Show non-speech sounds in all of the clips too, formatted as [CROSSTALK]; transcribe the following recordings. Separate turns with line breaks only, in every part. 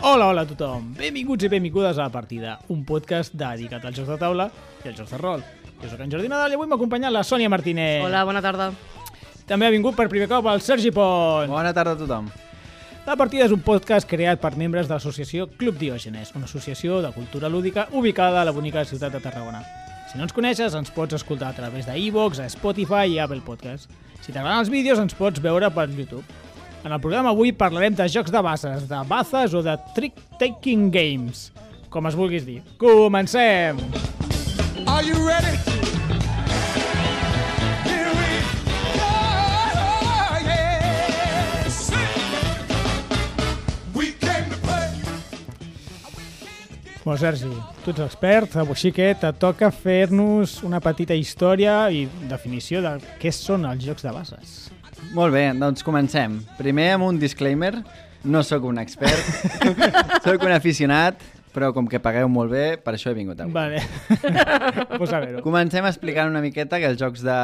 Hola, hola a tothom. Benvinguts i benvingudes a La Partida, un podcast dedicat als jocs de taula i als jocs de rol. Jo sóc en Jordi Nadal i avui m'acompanya la Sònia Martínez.
Hola, bona tarda.
També ha vingut per primer cop el Sergi Pont.
Bona tarda a tothom.
La Partida és un podcast creat per membres de l'associació Club Diògenes, una associació de cultura lúdica ubicada a la bonica ciutat de Tarragona. Si no ens coneixes, ens pots escoltar a través d'e-box, a Spotify i Apple Podcast. Si t'agraden els vídeos, ens pots veure per YouTube. En el programa avui parlarem de jocs de bases, de bazes o de trick-taking games, com es vulguis dir. Comencem!
Are you ready? Here we go, yeah. We came to play.
Bueno, Sergi, tu ets expert, així que te toca fer-nos una petita història i definició de què són els jocs de bases.
Molt bé, doncs comencem. Primer amb un disclaimer. No sóc un expert, sóc un aficionat, però com que pagueu molt bé, per això he vingut avui.
Vale. [LAUGHS] pues a veure.
Comencem explicant una miqueta que els jocs de,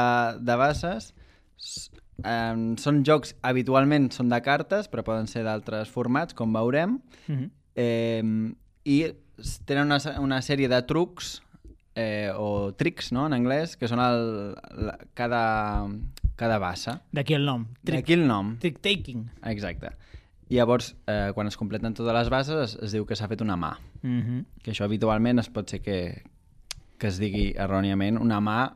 de bases s- em, són jocs, habitualment són de cartes, però poden ser d'altres formats, com veurem,
Mhm.
eh, i s- tenen una, se- una sèrie de trucs eh, o tricks, no?, en anglès, que són el, la, cada, cada bassa.
D'aquí el nom. Trick,
D'aquí el nom.
trick taking.
Exacte. I llavors, eh, quan es completen totes les bases, es, es diu que s'ha fet una mà.
Mm -hmm.
Que això habitualment es pot ser que, que es digui erròniament una mà,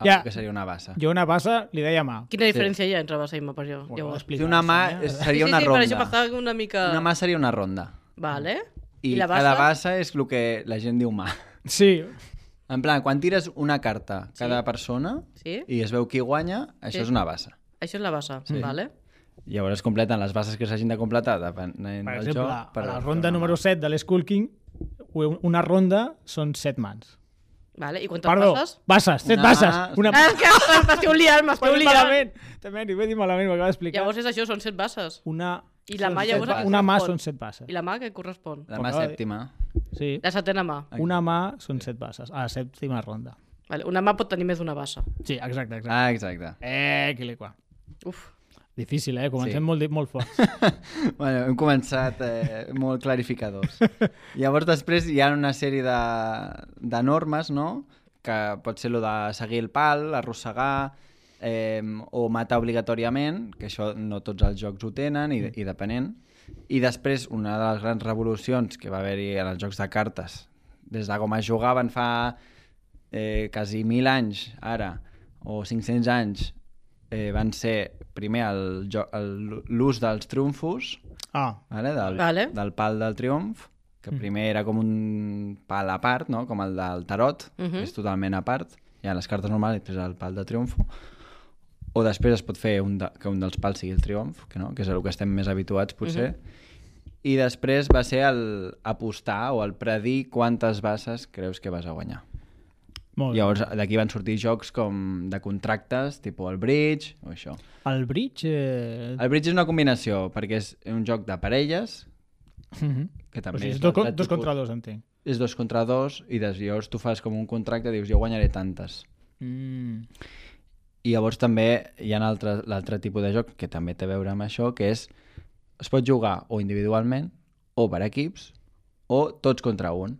Ja.
ja. que seria una bassa. Jo...
Jo una bassa li deia mà.
Quina diferència hi ha entre bassa i mà, per jo? llavors?
Si una mà és, seria
sí,
una
sí,
ronda.
Sí, per això m'estava una mica...
Una mà seria una ronda.
Vale.
I,
I la bassa?
cada bassa és el que la gent diu mà.
Sí.
En plan, quan tires una carta cada persona
Sí.
i es veu qui guanya, això
Sí.
és una bassa.
Això és la bassa, sí. vale.
Llavors es completen les bases que s'hagin de completar, depenent
Per
del
exemple,
joc.
a la
fer
ronda
una mà.
número 7 de l'Skull King, una ronda són 7 mans.
Vale. I quantes
Perdó,
basses?
basses, 7
Una-
bases. Una... [LAUGHS]
Ah, [LAUGHS] que m'esteu liant, m'esteu
Ho he dit
liant.
malament. També li ho he dit malament, m'ho acaba d'explicar.
Llavors és això, són set basses.
Una...
I la
són
mà
set
llavors
ba-
es
Una mà són
correspon.
7 basses.
I la mà que correspon?
La mà
Acaba de-
sèptima.
Sí.
La setena mà.
Una mà són 7 basses. A la sèptima ronda.
Vale. Una mà pot tenir més d'una bassa.
Sí, exacte, exacte.
Ah, exacte.
Eh, que li qua.
Uf.
Difícil, eh? Comencem
Sí.
molt, di- molt fort.
Bueno, hem començat eh, molt clarificadors. Llavors, després hi ha una sèrie de, de normes, no?, que pot ser lo de seguir el pal, arrossegar eh, o matar obligatòriament, que això no tots els jocs ho tenen i, i depenent. I després, una de les grans revolucions que va haver-hi en els jocs de cartes, des de com es jugaven fa eh, quasi mil anys ara, o 500 anys, eh, van ser primer el jo- el- l'ús dels triomfos,
[LAUGHS] Ah,
vale? Del,
Vale.
del pal del triomf, que primer era com un pal a part, no? com el del tarot,
Mhm.
que és totalment a part, hi ha les cartes normals i després el pal de triomfo, o després es pot fer un de, que un dels pals sigui el triomf, que, no? que és el que estem més habituats
Mhm.
potser, i després va ser el apostar o el predir quantes bases creus que vas a guanyar.
molt bé.
Llavors, d'aquí van sortir jocs com de contractes, tipus el bridge o això.
El bridge... Eh... [LAUGHS]
El bridge és una combinació, perquè és un joc de parelles,
Mhm.
que
O
també
sigui, és
és
dos,
de-
con-
de
dos
tipus-
contra dos, entenc.
És dos contra dos, i des, llavors tu fas com un contracte i dius, jo guanyaré tantes.
Mm.
I llavors també hi ha altre- l'altre tipus de joc que també té a veure amb això, que és, es pot jugar o individualment, o per equips, o tots contra un,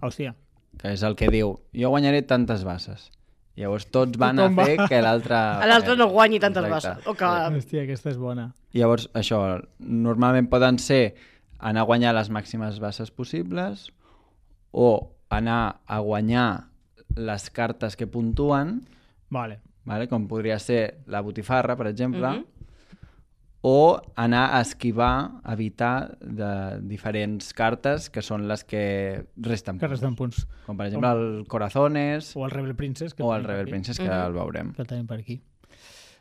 Hòstia.
que és el que diu, jo guanyaré tantes bases. Llavors tots van a
Tothom va-
fer que l'altre...
L'altre no guanyi tantes
Ah, Exacte.
basses. Oh, O que...
Hòstia, aquesta és bona.
Llavors, això, normalment poden ser anar a guanyar les màximes bases possibles o anar a guanyar les cartes que puntuen,
Vale.
vale? com podria ser la botifarra, per exemple, mm -hmm. o anar a esquivar, evitar de diferents cartes que són les que resten.
Que resten punts.
punts. Com per exemple el Corazones
O el Rebel Princess. Que
o
el tenim per
el Rebel
aquí.
Princess, que ara el veurem.
Que el tenim per aquí.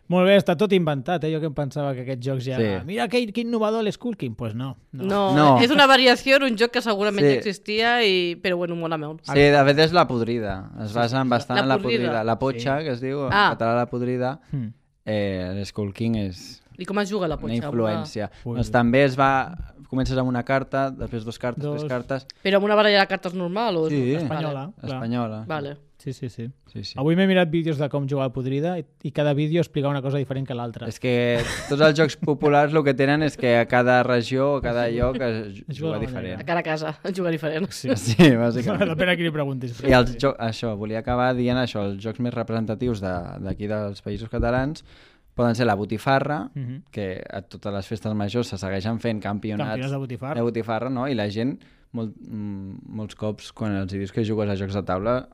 Molt bé, està tot inventat, eh? Jo que em pensava que aquests jocs ja... Sí.
Sí.
Mira que, que innovador l'Skull King. Pues no. no.
No, no,
No.
és una variació d'un joc que segurament
Sí.
ja existia, i... però bueno, mola molt.
Sí, de fet és la podrida. Es basen bastant
La
en la
podrida.
podrida. La potxa, que es diu, en
Ah.
català la podrida,
Mm.
eh, l'Skull King és
I com es juga la
una
potxa?
influència.
Ui.
Doncs també es va comences amb una carta, després dos cartes,
Dos.
tres cartes...
Però amb una baralla de cartes normal o...
Sí.
Espanyola. clar.
Espanyola.
Vale.
Sí, sí, sí.
Sí, sí.
Avui m'he mirat vídeos de com jugar a podrida i, i cada vídeo explica una cosa diferent que l'altra.
És que tots els jocs populars el que tenen és que a cada regió, a cada lloc es
Es
juga
juga de
A
diferent.
cara a casa, [LAUGHS] jugar diferent.
Sí.
Sí,
[LAUGHS]
bàsicament.
Depèn a qui li preguntis. però
I els
sí.
jo... això, volia acabar dient això, els jocs més representatius de- d'aquí dels països catalans poden ser la botifarra,
Mhm.
que a totes les festes majors se segueixen fent campionats,
Campionats de botifarra.
de botifarra, no? I la gent, molt, mm, molts cops, quan els hi dius que jugues a jocs de taula,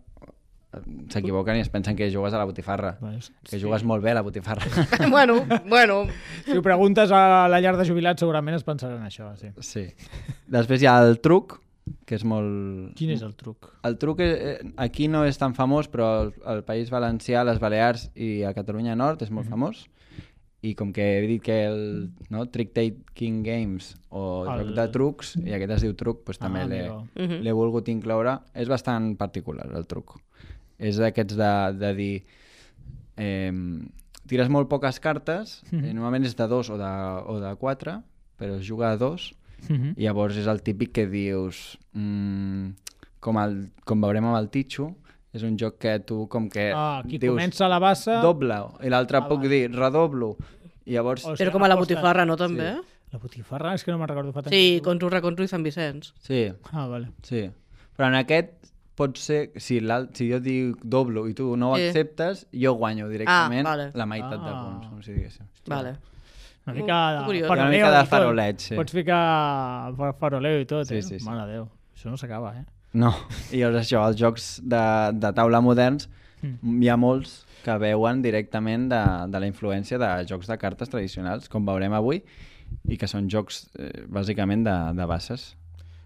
eh, s'equivoquen i es pensen que jugues a la botifarra.
Doncs,
Que jugues molt bé a la
[LAUGHS]
botifarra.
bueno, bueno,
Si ho preguntes a la llar de jubilats segurament es pensaran això, sí.
Sí. Després hi ha el truc, que és molt...
Quin és el truc?
El truc eh, aquí no és tan famós, però al, al País Valencià, les Balears i a Catalunya Nord és molt famós. I com que he dit que el no, Trick Taking Games o el...
El-
joc de trucs, i aquest es diu truc, doncs també
Ah,
l'he
amigo.
Mhm.
l'he volgut incloure. És bastant particular, el truc. És d'aquests de, de dir... Eh, tires molt poques cartes, mm -hmm. normalment és de dos o de, o de quatre, però es juga a dos,
Mhm.
i Llavors és el típic que dius... Mm, com, el, com veurem amb el Titxo, és un joc que tu com que
Ah, qui
Eh, dius
comença la bassa...
doble i l'altre ah, puc dir redoblo. I llavors...
O sigui,
però com a la
apostes.
botifarra, no, també?
La botifarra? És que no me'n recordo. Fa tant
Sí,
que-
Conturra, Conturra i Sant Vicenç.
Sí,
Ah, vale.
sí. Però en aquest pot ser... Si, l'al- si jo dic doblo i tu no ho
Sí. Ah,
acceptes, jo guanyo directament
vale.
la meitat
Ah.
ah. de punts, com si diguéssim.
Vale.
Una
Mm,
mica de
curiós.
faroleo
Una mica de
i tot.
faroleig, sí.
Pots ficar fa- faroleo i tot,
Sí,
eh?
sí, sí.
Mare de Déu, això no s'acaba, eh?
No. I llavors això, els jocs de, de taula moderns,
Mm.
hi ha molts que veuen directament de, de la influència de jocs de cartes tradicionals, com veurem avui, i que són jocs eh, bàsicament de, de bases.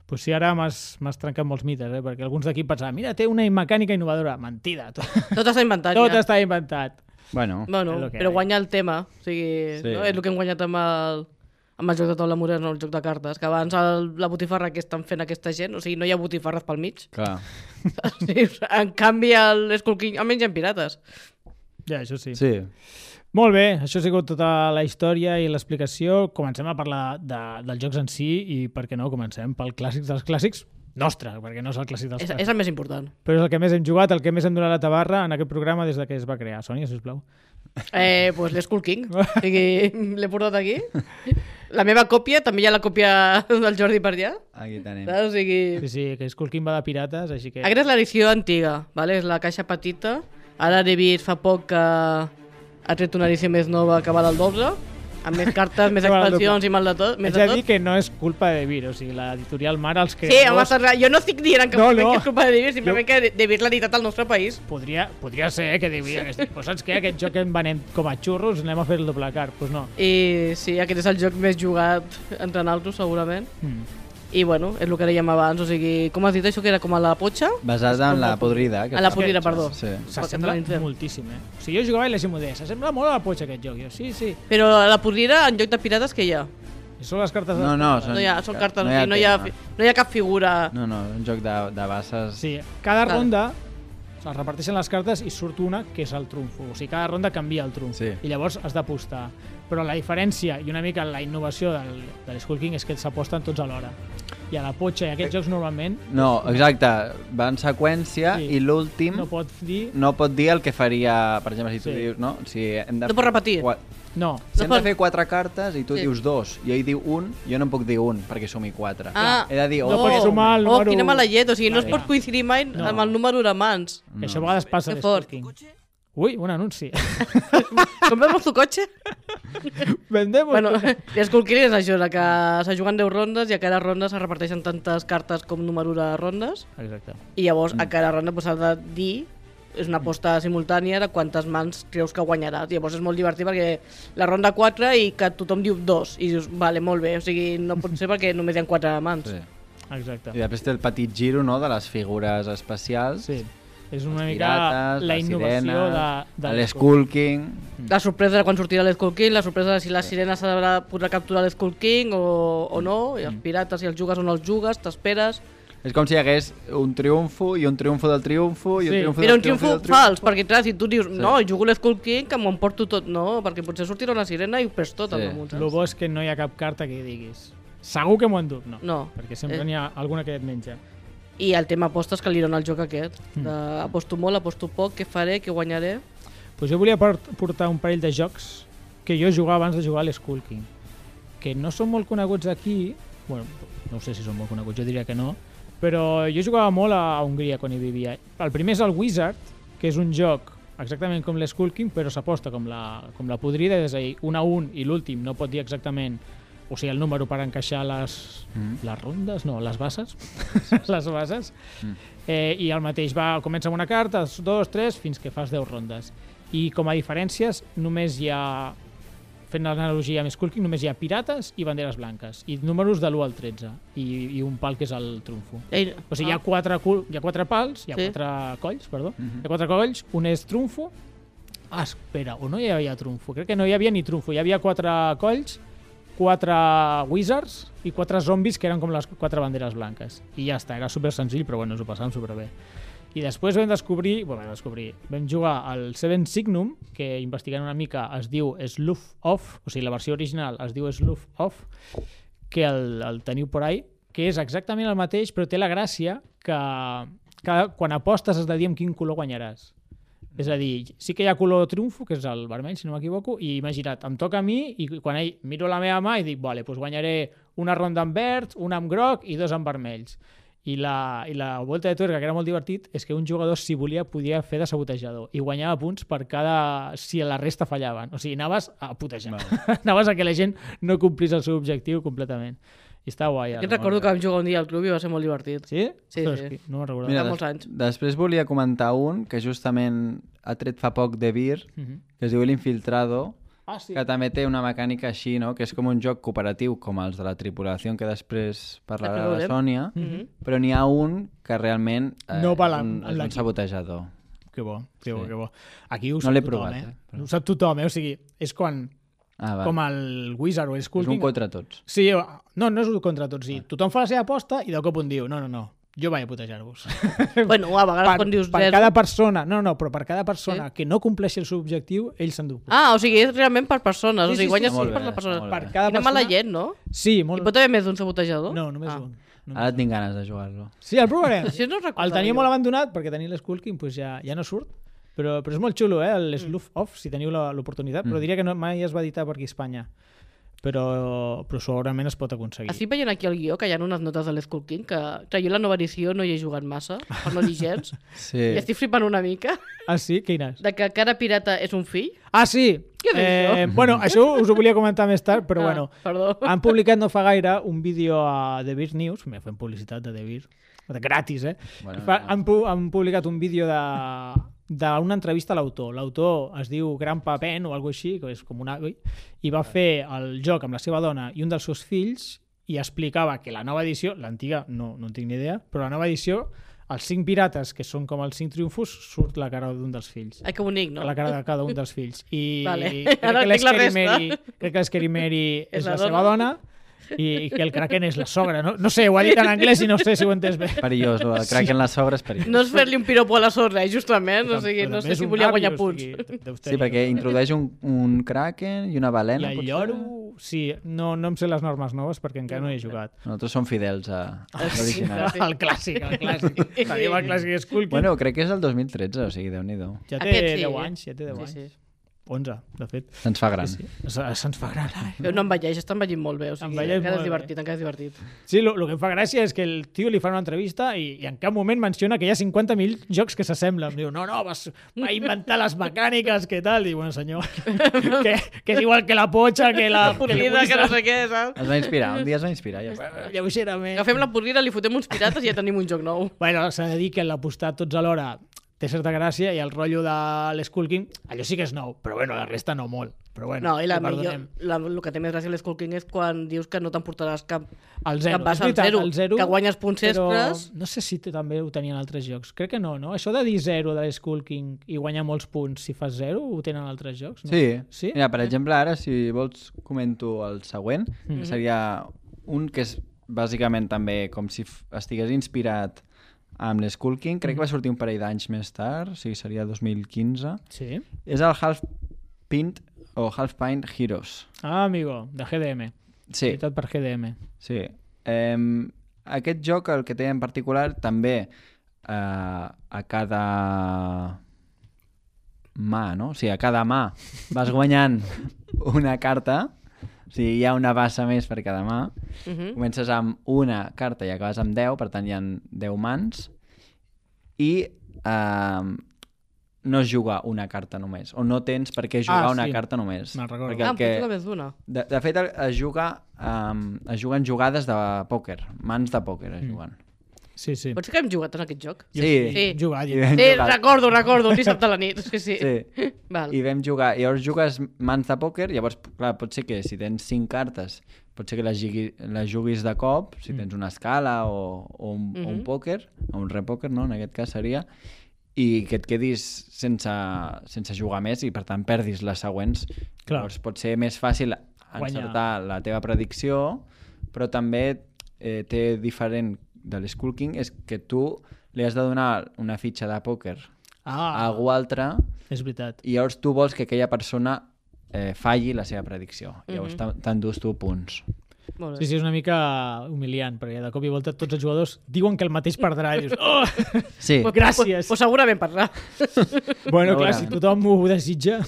Pues sí, ara m'has m'has trencat molts mites, eh? Perquè alguns d'aquí pensaven, mira, té una mecànica innovadora. Mentida, tot,
Tot està inventat,
tot
ja.
està inventat.
Bueno,
És
Bueno,
lo que
però
hay.
guanya el tema. O sigui,
Sí.
no? és el que hem guanyat amb el, amb el joc de taula moderna, el joc de cartes, que abans el, la botifarra que estan fent aquesta gent, o sigui, no hi ha botifarres pel mig. [LAUGHS]
clar.
Sí, en canvi, el Skull King, almenys hi ha pirates.
Ja, això sí.
Sí.
Molt bé, això ha sigut tota la història i l'explicació. Comencem a parlar de, dels jocs en si i, per què no, comencem pel clàssic dels clàssics nostre, perquè no és el clàssic dels
És,
clàssics.
és el més important.
Però és el que més hem jugat, el que més hem donat la tabarra en aquest programa des de que es va crear. Sònia, sisplau.
Eh, pues l'Skull King. O sigui, [LAUGHS] l'he portat aquí. La meva còpia, també hi ha la còpia [LAUGHS] del Jordi per allà.
Aquí tenim.
Saps? O sigui,
Sí, sí, que Skull King va de pirates, així que...
aquesta és l'edició antiga, vale? és la caixa petita. Ara n'he vist fa poc que ha tret una edició més nova que val el 12, amb més
[LAUGHS]
cartes, més
Que val el
expansions i mal de tot. Més
Més Haig
de
de dir
tot.
que no és culpa de Vir, o sigui, l'editorial mare, els
Sí, home,
creadors...
Serra, jo no estic dient que,
No,
no,
no.
no. que és culpa de Davis, simplement que Davis l'ha editat al nostre país.
Podria, podria ser eh, que de Vir hagués dit, pues, saps què, aquest joc que en venem com a xurros, anem a fer el doble car. Pues no.
I sí, aquest és el joc més jugat entre naltros, segurament.
Mm.
I bueno, és el que dèiem abans, o sigui, com has dit això que era com a la potxa?
Basada en la podrida. Que
A la
fa-
podrida, perdó.
Sí.
S'assembla
Perquè tenim-
moltíssim, eh? O sigui, jo jugava i la Simodea, s'assembla molt a la Pocha aquest joc. Jo, sí, sí.
Però a la podrida, en lloc de pirates, que hi ha?
I són les cartes... de-
No, no,
No hi ha, són cartes, no
no
hi ha, no hi ha,
tema.
fi- no hi ha cap figura. No.
No, no, un joc de, de bases...
Sí, cada
Vale.
ronda es reparteixen les cartes i surt una que és el trumfo. O sigui, cada ronda canvia el trumfo.
Sí.
I llavors has d'apostar. Però la diferència i una mica la innovació del, de l'Skull King és que s'aposten tots alhora. I a la potxa i a aquests jocs normalment
No, exacte, va en seqüència
Sí.
i l'últim...
no pot dir...
no pot dir el que faria, per exemple, si tu
Sí.
sí. dius, no? Si hem de
No pot repetir.
Qua...
No.
Si hem de
pot.
fer quatre cartes i tu
Sí.
sí. dius dos, i ell diu un, jo no em puc dir un perquè som i quatre.
Ah.
He de dir,
No
oh,
pots sumar el
Oh,
número-
quina mala llet, o sigui, no es
Vale.
pot coincidir mai no. amb el número de mans.
Mm.
Que això a vegades passa
Que
a l'Skull
fort.
King. Ui, un
[LAUGHS]
anunci.
Comprem tu cotxe?
[LAUGHS] Vendem
bueno, [LAUGHS] Skull King és això, la que se juguen 10 rondes i a cada ronda se reparteixen tantes cartes com número de rondes
Exacte.
i llavors
Mm.
a cada ronda pues, has de dir és una aposta simultània de quantes mans creus que guanyaràs. Llavors és molt divertit perquè la ronda 4 i que tothom diu 2 i dius, vale, molt bé, o sigui, no pot ser perquè només hi ha 4 mans.
Sí.
Exacte.
I després té el petit giro no, de les figures especials,
Sí. És una mica
pirates,
la
les
innovació
sirenes,
de, de
l'Skull King...
Mm. La sorpresa de quan sortirà l'Skull King, la sorpresa de si la sirena s'ha de posar a capturar l'Skull King o, o no, i els pirates, si els jugues o no els jugues, t'esperes.
És com si hi hagués un triomfo i un triomfo del triomfo i
Sí.
un triomfo
Era
del
un
triomfo, i
triomfo
del triomfo.
fals, perquè clar, si tu dius, no, jugo l'Skull King, que m'ho emporto tot, eh? no, perquè potser sortirà una sirena i ho perds tot
Sí.
al damunt,
El
saps?
bo és que no hi ha cap carta que diguis. Segur que m'ho enduc, no.
No.
Perquè sempre
Eh.
n'hi ha alguna que et menja.
I el tema apostes que li dona el joc aquest. De, aposto molt, aposto poc, què faré, què guanyaré...
Pues jo volia port- portar un parell de jocs que jo jugava abans de jugar a l'Skull King, que no són molt coneguts aquí, bueno, no ho sé si són molt coneguts, jo diria que no, però jo jugava molt a, a Hongria quan hi vivia. El primer és el Wizard, que és un joc exactament com l'Skull King, però s'aposta com, la, com la podrida, és a dir, un a un i l'últim no pot dir exactament o sigui, el número per encaixar les, mm. les rondes, no, les bases, les bases, Eh, I el mateix va, comença amb una carta, dos, tres, fins que fas 10 rondes. I com a diferències, només hi ha, fent l'analogia amb Skull King, només hi ha pirates i banderes blanques. I números de l'1 al 13. I, I un pal que és el trumfo.
Ei, ah,
O sigui, hi ha quatre, cul, hi ha quatre pals, hi ha sí.
Sí.
quatre colls, perdó. Hi ha quatre colls, un és trumfo. Ah, espera, o no hi havia trumfo? Crec que no hi havia ni trumfo. Hi havia quatre colls, quatre wizards i quatre zombis que eren com les quatre banderes blanques. I ja està, era super senzill, però bueno, ens ho passàvem superbé. I després vam descobrir, bueno, vam descobrir, vam jugar al Seven Signum, que investigant una mica es diu Sloof Off, o sigui, la versió original es diu Sloof Off, que el, el teniu por ahí, que és exactament el mateix, però té la gràcia que, que quan apostes has de dir amb quin color guanyaràs. És a dir, sí que hi ha color triomfo, que és el vermell, si no m'equivoco, i imagina't, em toca a mi i quan ell miro la meva mà i dic, vale, doncs guanyaré una ronda en verd, una en groc i dos en vermells. I la, I la volta de tuerca, que era molt divertit, és que un jugador, si volia, podia fer de sabotejador i guanyava punts per cada... si la resta fallaven. O sigui, anaves a putejar. Vale. [LAUGHS] anaves a que la gent no complís el seu objectiu completament. I està guai.
Aquest recordo que vam jugar un dia al club i va ser molt divertit.
Sí?
Sí,
Ostres,
sí.
que No me'n recordava.
Mira,
Fa
des-
molts anys.
després volia comentar un que justament ha tret fa poc de Vir,
Mhm.
que es diu L'Infiltrado,
Ah, sí.
que també té una mecànica així, no? que és com un joc cooperatiu, com els de la tripulació, que després
Que no
parlarà la
veurem.
Sònia,
Mhm.
però n'hi ha un que realment
No val
és
amb-
un,
amb
és un
l'equip.
sabotejador.
Que bo, que bo,
Sí.
que bo. Aquí ho
No
sap
l'he
tothom,
provat,
eh?
eh, però-
Ho sap tothom, eh? O sigui, és quan,
Ah, va.
com el Wizard o el Skull
és un
King...
contra tots.
Sí, no, no és un contra tots. Sí. Tothom fa la seva aposta i de cop un diu, no, no, no, jo vaig a putejar-vos.
Bueno, a
[LAUGHS]
vegades
per,
quan dius
per
zero-
cada persona, no, no, però per cada persona que no compleixi el seu objectiu, ell s'endú.
Ah, o sigui, és realment per persones.
Sí,
o sigui,
sí,
guanyes
sí.
sí,
Molt
per
bé,
la persona.
molt
Per
bé.
cada
Quina
persona...
mala gent, no?
Sí,
Hi
molt...
pot haver més d'un sabotejador?
No, només
ah.
un. Només...
Ara tinc ganes de jugar-lo.
Sí, el
[LAUGHS]
provarem.
Això no ho recordava
el tenia
jo.
molt abandonat perquè tenia l'Skull King, doncs ja, ja no surt. Però, però és molt xulo, eh? El
Mm.
Sloof Off, si teniu la- l'oportunitat. Però diria que no, mai es va editar per aquí a Espanya. Però, però segurament es pot aconseguir.
Estic veient aquí el guió, que hi ha unes notes de l'Skull King, que clar, jo la nova edició no hi he jugat massa, per no dir
[LAUGHS]
gens,
Sí.
i estic flipant una mica
Ah, sí? Quines?
de que cada pirata és un fill.
Ah, sí!
Què dius,
eh, bueno, això us ho volia comentar més tard, però
Ah,
bueno.
[LAUGHS] Perdó.
Han publicat no fa gaire un vídeo a The Beer News, me fent publicitat de The Beer, de gratis, eh?
Bueno,
Bueno, han, pu han publicat un vídeo de d'una entrevista a l'autor. L'autor es diu Grandpa Pen o alguna així, que és com un avi, i va fer el joc amb la seva dona i un dels seus fills i explicava que la nova edició, l'antiga no, no en tinc ni idea, però la nova edició, els cinc pirates, que són com els cinc triomfos, surt la cara d'un dels fills
Ai, que bonic, no?
a la cara de cada un dels fills. I
Vale.
crec,
[LAUGHS] Ara
que
entenc la
l'Scary
resta.
Mary, crec que l'Scary Mary és,
[LAUGHS] És
la,
la
seva dona i que el Kraken és la sogra. No, no sé, ho ha dit en anglès i no sé si ho he entès bé.
Perillós, el
[LAUGHS]
crack en la sobra és perillós.
No és fer-li un piropo a la sorra, eh, justament. O
Però
sigui, no
també
sé
és
si
un
volia
avi,
guanyar
o
punts.
sigui, deus
Sí,
tenir-
perquè introdueix un, un kraken i una
I
balena.
el
potser.
lloro... Sí, no, no em sé les normes noves perquè encara no hi he jugat.
Nosaltres som fidels a a
Ah, sí,
l'original.
[LAUGHS]
clar.
El clàssic, el
[LAUGHS]
clàssic. Tenim el clàssic Skull Kid.
Bueno, crec que és el 2013, o sigui, déu-n'hi-do.
Ja té
Aquest sí,
10
eh?
anys, ja té 10
Sí,
anys.
sí.
11, de fet.
Se'ns fa gran.
Sí, se- Se'ns fa gran, eh?
Però no envelleix, està envellint molt bé. O sigui,
Envelleix
encara
molt
és
bé.
divertit, encara és
[LAUGHS]
divertit.
Sí, el que em fa gràcia és que el tio li fa una entrevista i, i en cap moment menciona que hi ha 50.000 jocs que s'assemblen. Diu, no, no, vas, va inventar les mecàniques, què tal? Diu, bueno, senyor,
[LAUGHS]
que, que és igual que la potxa, que la...
Podrida, que no sé què, saps?
Es va inspirar, un dia es va inspirar, ja està.
Lleugerament.
Agafem la podrida, li fotem uns pirates i ja tenim un joc nou.
Bueno, s'ha de dir que l'apostar tots alhora té certa gràcia i el rotllo de l'Skull King, allò sí que és nou, però bueno, la resta no molt. Però bueno,
No, i la
ho
millor,
perdonem.
la, el que té més gràcia a l'Skull King és quan dius que no t'emportaràs cap,
El
cap
zero, és
base al
veritat,
zero,
el zero,
que guanyes punts
però
extras.
no sé si t- també ho tenien altres jocs. Crec que no, no? Això de dir zero de l'Skull King i guanyar molts punts si fas zero, ho tenen altres jocs? No?
Sí.
Sí? Eh.
Mira, per exemple, ara, si vols, comento el següent,
Mm-hmm.
que seria un que és bàsicament també com si f- estigués inspirat amb l'Skull King. Crec que
Mm-hmm.
va sortir un parell d'anys més tard, o sigui, seria 2015.
Sí.
És el Half Pint o Half Pint Heroes.
Ah, amigo, de GDM.
Sí.
editat per GDM.
Sí. Eh, aquest joc, el que té en particular, també eh, a cada mà, no? O sigui, a cada mà
[LAUGHS]
vas guanyant una carta, o sigui, hi ha una bassa més per cada mà.
Mm.
Mhm.
Comences amb una carta i acabes amb 10, per tant hi ha 10 mans. I eh, no es juga una carta només, o no tens per què jugar
Ah,
una
sí.
carta només.
Me'n recordo.
Perquè
Ah,
el
em penso que vez d'una.
de, de fet, el- es juga, um, es juguen jugades de pòquer, mans de pòquer es juguen.
Sí, sí.
Pot ser que hem jugat en aquest joc?
Jo
Sí.
Sí.
Jugar,
I
jo.
vam
Eh,
jugar-
recordo, recordo, un dissabte a la nit. És que sí.
Sí.
Val.
I vam jugar, llavors jugues mans de pòquer, llavors, clar, pot ser que si tens cinc cartes, pot ser que les, jugui, les juguis de cop, si
Mm.
tens una escala o, o, un, o un
Mhm.
pòquer, o un repòquer, no?, en aquest cas seria, i que et quedis sense, sense jugar més i, per tant, perdis les següents.
Clar.
Llavors pot ser més fàcil
Guanyar.
encertar la teva predicció, però també eh, té diferent de l'Skull King és que tu li has de donar una fitxa de pòquer a
Ah,
algú altre
és veritat.
i llavors tu vols que aquella persona eh, falli la seva predicció.
Mhm.
Llavors mm -hmm. t'endús tu punts.
Molt
Sí,
bé.
sí, és una mica humiliant, perquè de cop i volta tots els jugadors diuen que el mateix perdrà i dius,
[LAUGHS]
oh!
Sí,
Pues-
gràcies.
Pues, pues segurament perdrà.
bueno, clar,
veure.
si tothom ho desitja...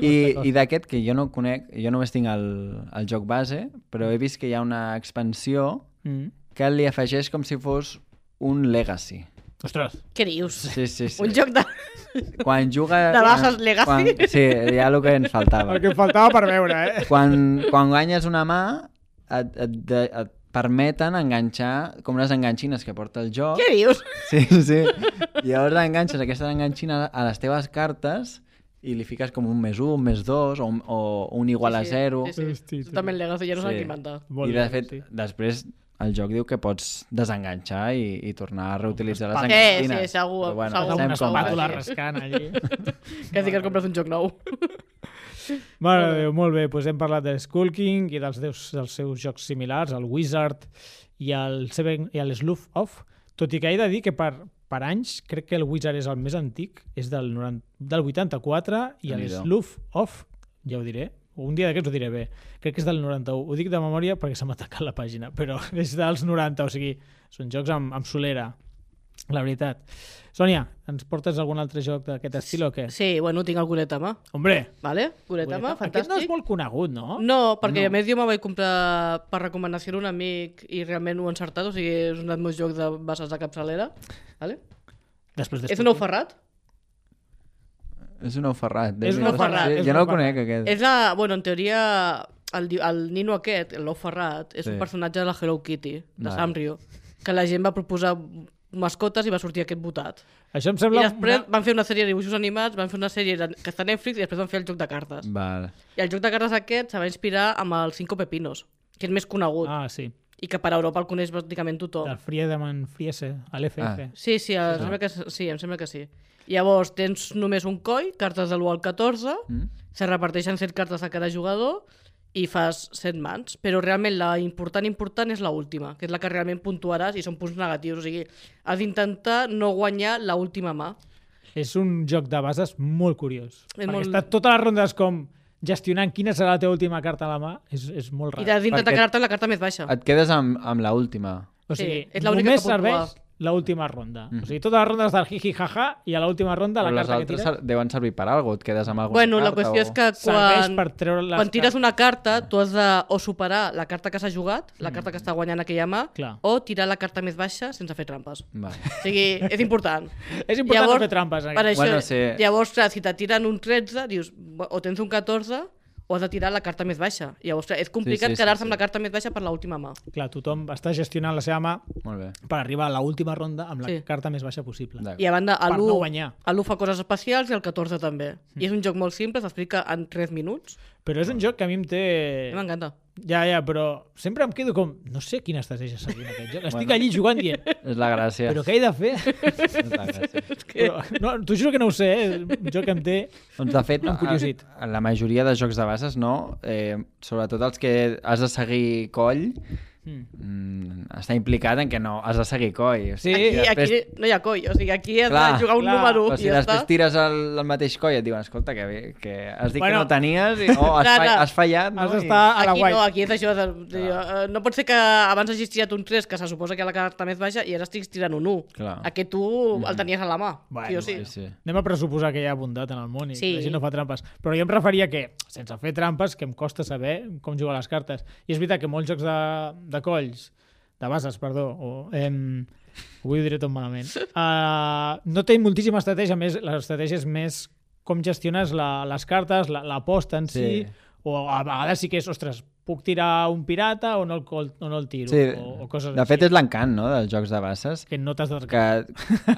i, i d'aquest que jo no conec, jo només tinc el, el joc base, però he vist que hi ha una expansió
Mm.
que li afegeix com si fos un legacy.
Ostres,
Què dius?
Sí, sí, sí.
Un joc de...
Quan juga...
de bases legacy?
Quan, sí, ja el que ens faltava.
el que em faltava per veure, eh?
quan, quan guanyes una mà et, et, de, et permeten enganxar com les enganxines que porta el joc.
Què dius?
Sí, sí. I llavors enganxes aquesta enganxina a les teves cartes i li fiques com un més un, un més dos o un, o un igual a zero.
Sí, sí.
Hosti,
Hosti, també el legacy, ja no s'ha
Sí.
inventat.
Molt
I
bé,
de fet,
sí.
després el joc diu que pots desenganxar i, i tornar a reutilitzar les
Sí,
enganxines.
sí, segur,
Però
Amb
segur,
sabem
una
com va.
espàtula
sí.
rascant allí.
Quasi que et compres un joc nou.
Mare de Déu, molt bé, doncs hem parlat de Skull King i dels, deus, dels seus jocs similars, el Wizard i el, Seven, i el Sloof Off, tot i que he de dir que per, per anys crec que el Wizard és el més antic, és del, 90, del 84 i el
Déu-n'hi-do.
Sloof Off, ja ho diré, un dia d'aquests ho diré bé, crec que és del 91, ho dic de memòria perquè se m'ha atacat la pàgina, però [LAUGHS] és dels 90, o sigui, són jocs amb, amb solera, la veritat. Sònia, ens portes algun altre joc d'aquest estil o què?
Sí, bueno, tinc el Guretama,
Hombre,
vale? Guretama,
Aquest no és
fantàstic.
molt conegut, no?
No, perquè a més jo me'l vaig comprar per recomanació d'un amic i realment ho he encertat, o sigui, és un dels meus jocs de bases de capçalera. Vale?
Després
És un ou ferrat?
És un ou ferrat.
És un ou ferrat,
Sí,
és
Jo
un
no
ou
el conec, aquest.
És la... Bueno, en teoria, el, di- el nino aquest, l'ou ferrat, és
Sí.
un personatge de la Hello Kitty, de
Vale.
Sanrio, que la gent va proposar mascotes i va sortir aquest votat.
Això em
I
sembla... Ah,
després van fer una sèrie de dibuixos animats, van fer una sèrie de- que està a Netflix i després van fer el joc de cartes.
Val.
I el joc de cartes aquest se va inspirar amb el Cinco Pepinos, que és més conegut
Ah, sí.
i que per Europa el coneix pràcticament tothom.
Del Friedemann Friese, a l'FF.
Ah.
Sí, sí, em sembla que sí, em sembla que sí. Llavors, tens només un coll, cartes de l'1 al 14, mm. se reparteixen 100 cartes a cada jugador i fas 100 mans, però realment la important important és la última, que és la que realment puntuaràs i són punts negatius, o sigui, has d'intentar no guanyar la última mà.
És un joc de bases molt curiós.
És
perquè
molt-
està tota totes les rondes com gestionant quina serà la teva última carta a la mà. És, és molt
I
rar.
has d'intentar
Perquè-
quedar-te amb la carta més baixa.
Et quedes amb, amb la última.
O sigui,
Sí, és l'única
només
que pot
serveix l'última ronda. O sigui, totes les rondes del hi-hi-ha-ha i a l'última ronda la
Mhm. Però les
carta que
altres
tires
ser- deuen servir per alguna cosa, et quedes amb alguna
Bueno,
carta
la qüestió
o... Mm.
és que
serveix
quan,
per treure les
quan tires
cartes.
una carta, tu has de o superar la carta que s'ha jugat, la carta que està guanyant aquella mà,
Clar.
o tirar la carta més baixa sense fer trampes.
Vale.
O sigui, és important.
[LAUGHS] És important no fer trampes, eh? en
Per
aquest
això,
Bueno,
bueno,
sí.
sí. Llavors, clar, si te tiren un 13, dius, bo- o tens un 14, o has de tirar la carta més baixa. Llavors, clar, és complicat
Sí,
sí,
sí,
sí,
sí,
quedar-se
sí.
amb la carta més baixa per l'última mà.
Clar, tothom està gestionant la seva mà [LAUGHS]
Molt bé.
per arribar a l'última ronda amb la
Sí.
carta més baixa possible.
D'acord.
I a banda,
Per
l'1
no guanyar. Mm.
l'1 fa coses especials i el 14 també. I és un joc molt simple, s'explica en 3 minuts.
Però és un joc que a mi em té...
Eh. M'encanta.
Ja, ja, però sempre em quedo com... No sé quina estratègia seguir en aquest joc. Estic allí jugant dient...
És la gràcia.
Però què he de fer?
És la gràcia.
Però, no, T'ho juro que no ho sé, eh? És Un joc que em té...
Doncs, de fet,
Em curiosit.
a- a la majoria de jocs de bases, no? Eh, sobretot els que has de seguir coll, mm, està implicat en que no has de seguir coi. O
Sí,
Aquí,
després-
aquí no hi ha coll, o sigui, aquí has
Clar,
de jugar un
clar.
número
Però
i
si
ja
després
està.
tires el, el mateix coll i et diuen, escolta, que, bé, que has dit
Bueno.
que no tenies i, oh, has,
Clar,
fa,
clar.
has fallat. No?
Has d'estar Ah, a la
Aquí
guai.
no, aquí és això de, de, eh, no pot ser que abans hagis tirat un 3, que se suposa que la carta més baixa, i ara estiguis tirant un 1.
Clar.
Aquest tu el tenies a la mà,
Bueno,
sí o sí.
I... Sí, sí.
Anem a pressuposar que hi ha bondat en el món i sí.
Sí.
la gent no fa trampes. Però jo em referia que, sense fer trampes, que em costa saber com jugar les cartes. I és veritat que molts jocs de, de colls, de bases, perdó, o... Em, avui ho diré tot malament. Uh, no té moltíssima estratègia, a més l'estratègia és més com gestiones la, les cartes, la- l'aposta la, en si,
Sí.
sí. o a vegades sí que és, ostres, puc tirar un pirata o no el, col- o no el tiro,
Sí,
o, o coses
de fet,
així.
és l'encant, no?, dels jocs de bases.
Que no t'has de...
Que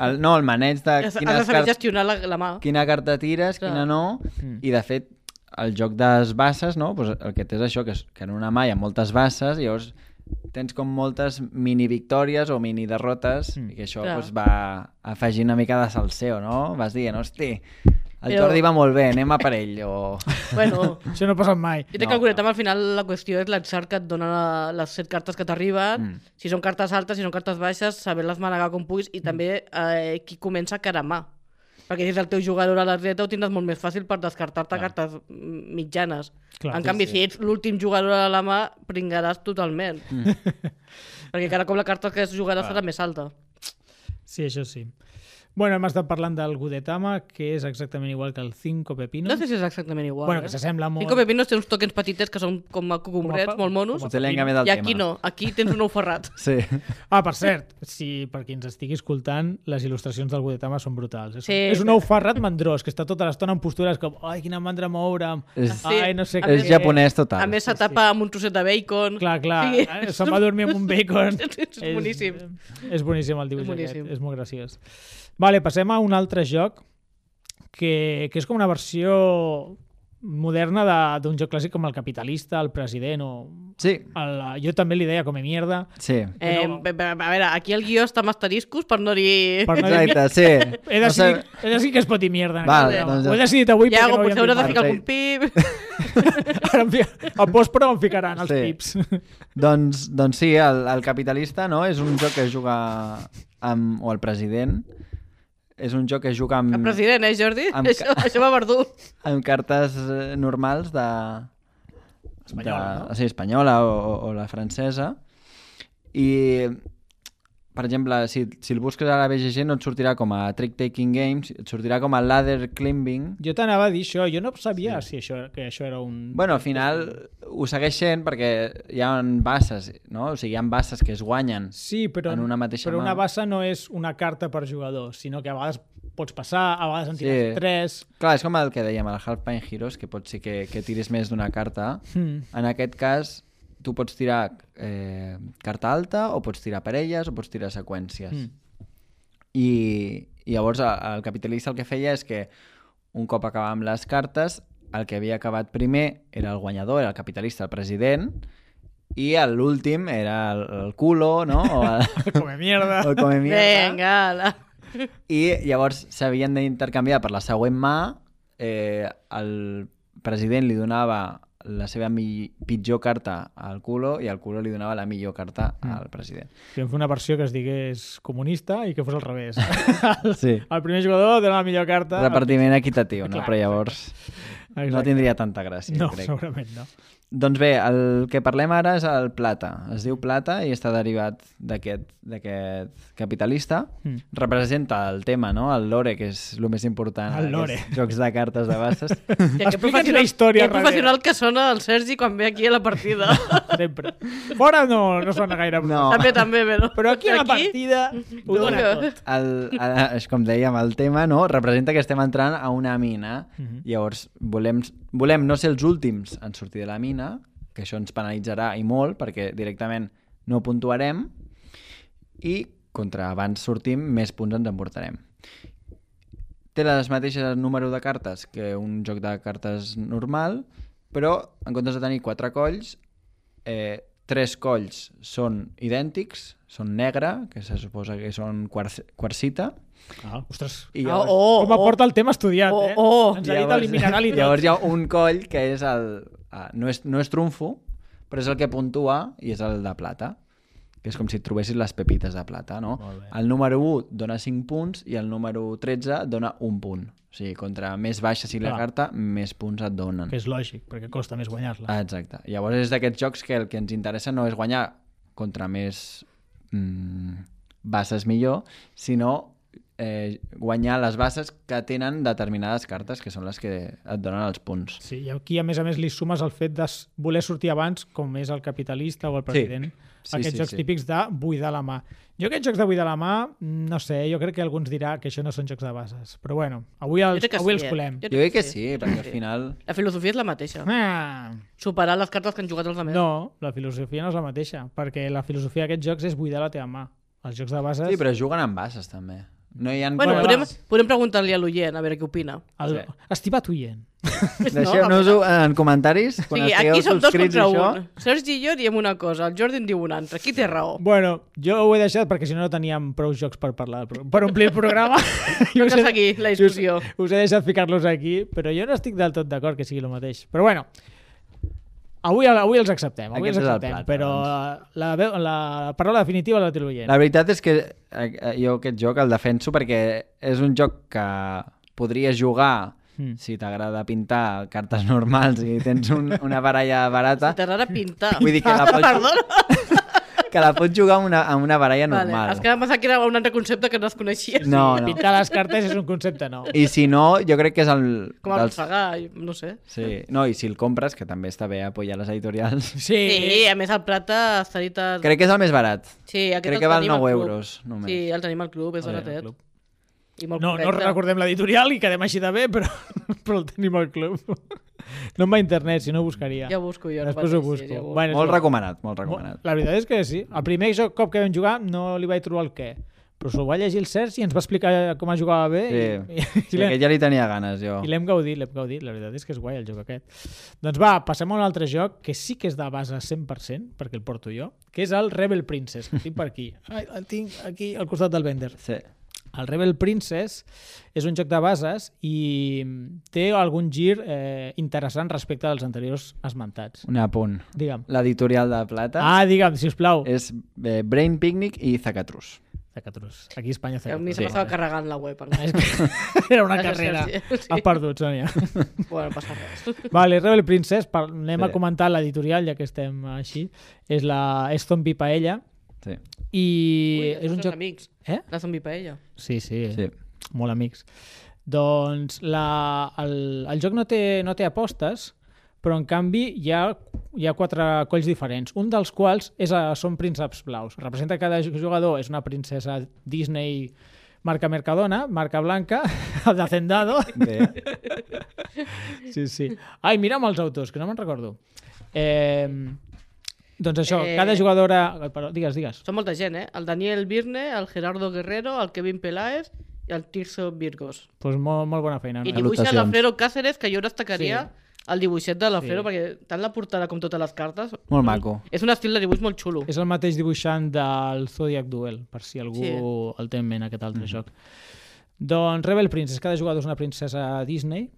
el, no, el maneig de
Has, has de
quines
saber
cartes
gestionar la, la mà.
quina carta tires,
Clar.
quina no,
Mm.
i de fet el joc de les bases, no? pues el que té és això, que, és, que en una mà hi ha moltes bases, i llavors tens com moltes mini victòries o mini derrotes,
Mm.
i que això
Clar.
pues, va afegir una mica de salseo, no? Vas dient, hosti, el
Però-
Jordi va molt bé, anem a per ell,
[LAUGHS]
o...
Bueno,
Això no passa mai.
Jo crec
No,
que el Guretam al final la qüestió és l'ençart que et dona la- les set cartes que t'arriben,
Mm.
si són cartes altes, si són cartes baixes, saber-les manegar com puguis i també eh, qui comença a caramar. Perquè si és el teu jugador a la dreta ho tindràs molt més fàcil per descartar-te cartes mm, mitjanes.
Clar,
en
sí,
canvi, si ets l'últim jugador a la mà, pringaràs totalment. [LAUGHS] Perquè cada cop la carta que jugaràs serà més alta.
Sí, això sí. Bueno, hem estat parlant del Gudetama, que és exactament igual que el Cinco Pepinos.
No sé si és exactament igual.
Bueno, que
eh?
s'assembla molt.
Cinco pepinos té uns tokens petitets que són com a cogombrets,
pa-
molt monos.
com
Potser li han canviat
I
el tema.
aquí no, aquí tens un ou ferrat.
Sí.
Ah, per cert, si per qui ens estigui escoltant, les il·lustracions del Gudetama són brutals. És,
Sí.
és un ou ferrat mandrós, que està tota l'estona en postures com ai, quina mandra moure'm,
És,
Sí.
ai, no sé
A
què.
és japonès total.
A més, se tapa amb un trosset de bacon.
Clar, clar, Eh,
Sí.
sí.
[LAUGHS]
se'n va dormir amb un bacon.
És boníssim.
eh, És boníssim el dibuix
És boníssim.
aquest, és molt graciós. Vale, passem a un altre joc que, que és com una versió moderna de- d'un joc clàssic com el capitalista, el president o...
Sí,
El, jo també li deia com a mierda.
sí.
Eh,
No.
bé, bé, a veure, aquí el guió està amb asteriscos per no dir...
Per no dir-
Exacte, sí.
He
No sé-
decidit, he decidit que es pot dir mierda. en
Val,
aquest programa.
doncs-
Ho he decidit avui
Ja,
perquè
o
no
potser hauràs de
dit
ficar
mai.
algun pip. [LAUGHS]
Ara em fi- a post però em ficaran els
Sí.
pips. [LAUGHS]
Doncs, doncs sí, el, el capitalista no? és un joc que es juga amb... o el president és un joc que es juga amb,
El president, eh, Jordi?
Amb ca-
Això, això va verdú.
[LAUGHS] amb cartes eh, normals de...
Espanyola, no?
Sí, espanyola o, o- o la francesa. I, per exemple, si, si el busques a la BGG no et sortirà com a Trick Taking Games, et sortirà com a Ladder Climbing.
Jo t'anava a dir això, jo no sabia sí. si això, que això era un...
Bueno, al final ho segueix sent perquè hi ha bases, no? O sigui, hi ha bases que es guanyen.
sí, però,
en una mateixa
però
mà.
una bassa no és una carta per jugador, sinó que a vegades pots passar, a vegades en tires
Sí.
tres...
Clar, és com el que dèiem, el Half-Pine Heroes, que pot ser que, que tiris més d'una carta.
[LAUGHS] Hmm.
En aquest cas, tu pots tirar eh, carta alta, o pots tirar parelles, o pots tirar seqüències.
Mm.
I, i llavors el, el capitalista el que feia és que un cop acabàvem les cartes, el que havia acabat primer era el guanyador, era el capitalista, el president, i el- l'últim era el, el culo, no? O el,
Com a
[LAUGHS]
mierda.
o el come mierda.
Vinga, la...
I llavors s'havien d'intercanviar per la següent mà. Eh, el president li donava la seva mi- pitjor carta al culo i el culo li donava la millor carta
Mm.
al
[LAUGHS]
president.
Vam fer una versió que es digués comunista i que fos al revés.
Sí.
El primer jugador dona la millor carta.
Repartiment equitatiu, no?
Clar,
Però llavors
Exacte.
no tindria tanta gràcia,
No,
crec.
segurament no.
Doncs bé, el que parlem ara és el plata. Es diu plata i està derivat d'aquest d'aquest capitalista.
Mm.
Representa el tema, no? El lore, que és el més important.
El
en
lore.
aquests Jocs de cartes de bases.
[LAUGHS] Explica'ns la història.
Que professional que sona el Sergi quan ve aquí a la
[LAUGHS]
partida.
darrere. Sempre. Fora no, no sona gaire.
No.
també, també, però...
Però aquí a la partida ho dona
dona.
tot.
el, el, és com dèiem, el tema no? representa que estem entrant a una mina.
Mhm.
Llavors, volem, volem no ser els últims en sortir de la mina, que això ens penalitzarà i molt, perquè directament no puntuarem, i contra abans sortim, més punts ens emportarem. Té les mateixes número de cartes que un joc de cartes normal, però en comptes de tenir quatre colls, eh, tres colls són idèntics, són negre, que se suposa que són quars quarsita,
Ah, ostres.
i
Oh,
llavors,
oh,
Com aporta el tema estudiat,
Oh,
eh?
oh.
[LAUGHS]
Ens ha dit eliminar-li tot.
eh, llavors hi ha un coll que és el... ah, no, és, no és trumfo, però és el que puntua i és el de plata, que és com si et trobessis les pepites de plata, no?
Molt bé.
El número 1 dona 5 punts i el número 13 dona un punt. O sigui, contra més baixa sigui la
Clar.
carta, més punts et donen.
Que és lògic, perquè costa més guanyar-la.
Ah, exacte. Llavors és d'aquests jocs que el que ens interessa no és guanyar contra més mm, bases millor, sinó eh, guanyar les bases que tenen determinades cartes, que són les que et donen els punts.
Sí, i aquí, a més a més, li sumes el fet de s- voler sortir abans, com és el capitalista o el president.
Sí,
aquests
sí,
jocs
sí.
típics de buidar la mà. Jo aquests jocs de buidar la mà, no sé, jo crec que algú ens dirà que això no són jocs de bases. Però bueno, avui els,
crec que
avui
sí,
els
eh?
colem.
Jo
Jo crec que sí, perquè al final...
La filosofia és la mateixa.
Ah,
Superar les cartes que han jugat els altres.
no, la filosofia no és la mateixa, perquè la filosofia d'aquests jocs és buidar la teva mà. Els jocs de bases...
Sí, però juguen amb bases, també. No hi ha...
Bueno,
Bueno,
podem,
va.
podem preguntar-li a l'oient, a veure què opina.
El...
Sí.
Estimat oient.
Deixeu-nos-ho en comentaris
O
quan
sigui,
estigueu
aquí som dos
subscrits i
contra
això.
un. Sergi i jo diem una cosa, el Jordi en diu una altra. Qui té raó?
Bueno, jo ho he deixat perquè si no no teníem prou jocs per parlar, però- per omplir el programa. Jo us
[LAUGHS] Toca seguir la discussió.
Us, us he deixat ficar-los aquí, però jo no estic del tot d'acord que sigui el mateix. Però bueno, avui, avui els acceptem, avui
Aquest
els
és el
acceptem,
plat, doncs.
però la, veu- la paraula definitiva la té l'oient.
La veritat és que eh, eh, jo aquest joc el defenso perquè és un joc que podries jugar
Mm.
si t'agrada pintar cartes [LAUGHS] normals i tens un, una baralla barata.
T'agrada pintar.
Vull dir que la pots,
Perdona.
[LAUGHS] que la pots jugar amb una, amb una baralla
Vale,
normal.
es que pensava que era un altre concepte que no es coneixia.
No, no.
Pintar les cartes és un concepte nou.
I si no, jo crec que és el...
Com a arrossegar, i- no sé.
Sí, no, i si el compres, que també està bé apoyar les editorials,
[LAUGHS]
[LAUGHS]
Sí,
Sí, a més el Plata està dit... A...
crec que és el més barat.
Sí, aquest
crec
el
que val
tenim al
9
club.
euros, només.
Sí, el tenim al club, és
Vale, al
baratet.
club.
I molt
no, no
correcte.
recordem l'editorial i quedem així de bé, però, [LAUGHS] però el tenim al club. No em va a internet, si no ho buscaria.
Ja ho busco jo. no
Després ho
pateixis,
busco.
ja ho
Bueno, és
Molt
igual.
recomanat, molt recomanat.
La veritat és que sí. El primer joc, cop que vam jugar no li vaig trobar el què. Però s'ho va llegir el Sergi i ens va explicar com es jugava bé
Sí,
i, i,
sí
i l'hem-
que ja li tenia ganes, jo.
i l'hem gaudit, l'hem gaudit. La veritat és que és guai el joc aquest. Doncs va, passem a un altre joc que sí que és de base 100%, perquè el porto jo, que és el Rebel Princess, que el tinc per aquí. [LAUGHS] Ai, el tinc aquí al costat del Bender.
Sí.
El Rebel Princess és un joc de bases i té algun gir eh, interessant respecte als anteriors esmentats.
Un apunt.
Digue'm.
L'editorial de Plata...
Ah, digue'm, si us plau.
és eh, Brain Picnic i Zacatrus.
Zacatrus. Aquí a Espanya
Que A
Zacatrus.
mi se m'estava carregant la web. encara.
És que era
[LAUGHS]
una
Gràcies,
carrera.
Sergi.
Has perdut, Sònia.
Bueno, no passa res.
[LAUGHS] Vale, Rebel Princess, par- anem a
Sí.
comentar l'editorial, ja que estem així. És la Eston B. Paella.
Sí.
I
Ui,
és un joc...
Amics.
Eh?
La zombie paella.
Sí, sí,
sí.
molt amics. Doncs la, el, el joc no té, no té apostes, però en canvi hi ha, hi ha quatre colls diferents, un dels quals és a, són prínceps blaus. Representa que cada jugador és una princesa Disney marca Mercadona, marca blanca, [LAUGHS] de Zendado.
Bé.
Sí, sí. Ai, mira'm els autors, que no me'n recordo. Eh, doncs això,
Eh.
eh... cada jugadora... Però, digues, digues.
Són molta gent, eh? El Daniel Birne, el Gerardo Guerrero, el Kevin Peláez i el Tirso Virgos.
Doncs molt, molt bona feina.
I
No?
dibuixa
Salutacions.
l'Alfredo Cáceres, que jo destacaria el dibuixet de l'Alfredo,
Sí.
perquè tant la portada com totes les cartes...
Molt maco.
[LAUGHS]
És un estil de dibuix molt xulo.
És el mateix dibuixant del Zodiac Duel, per si algú sí.
Sí.
el té en ment, aquest altre mm -hmm. joc. Doncs Rebel Princess, cada jugador és una princesa Disney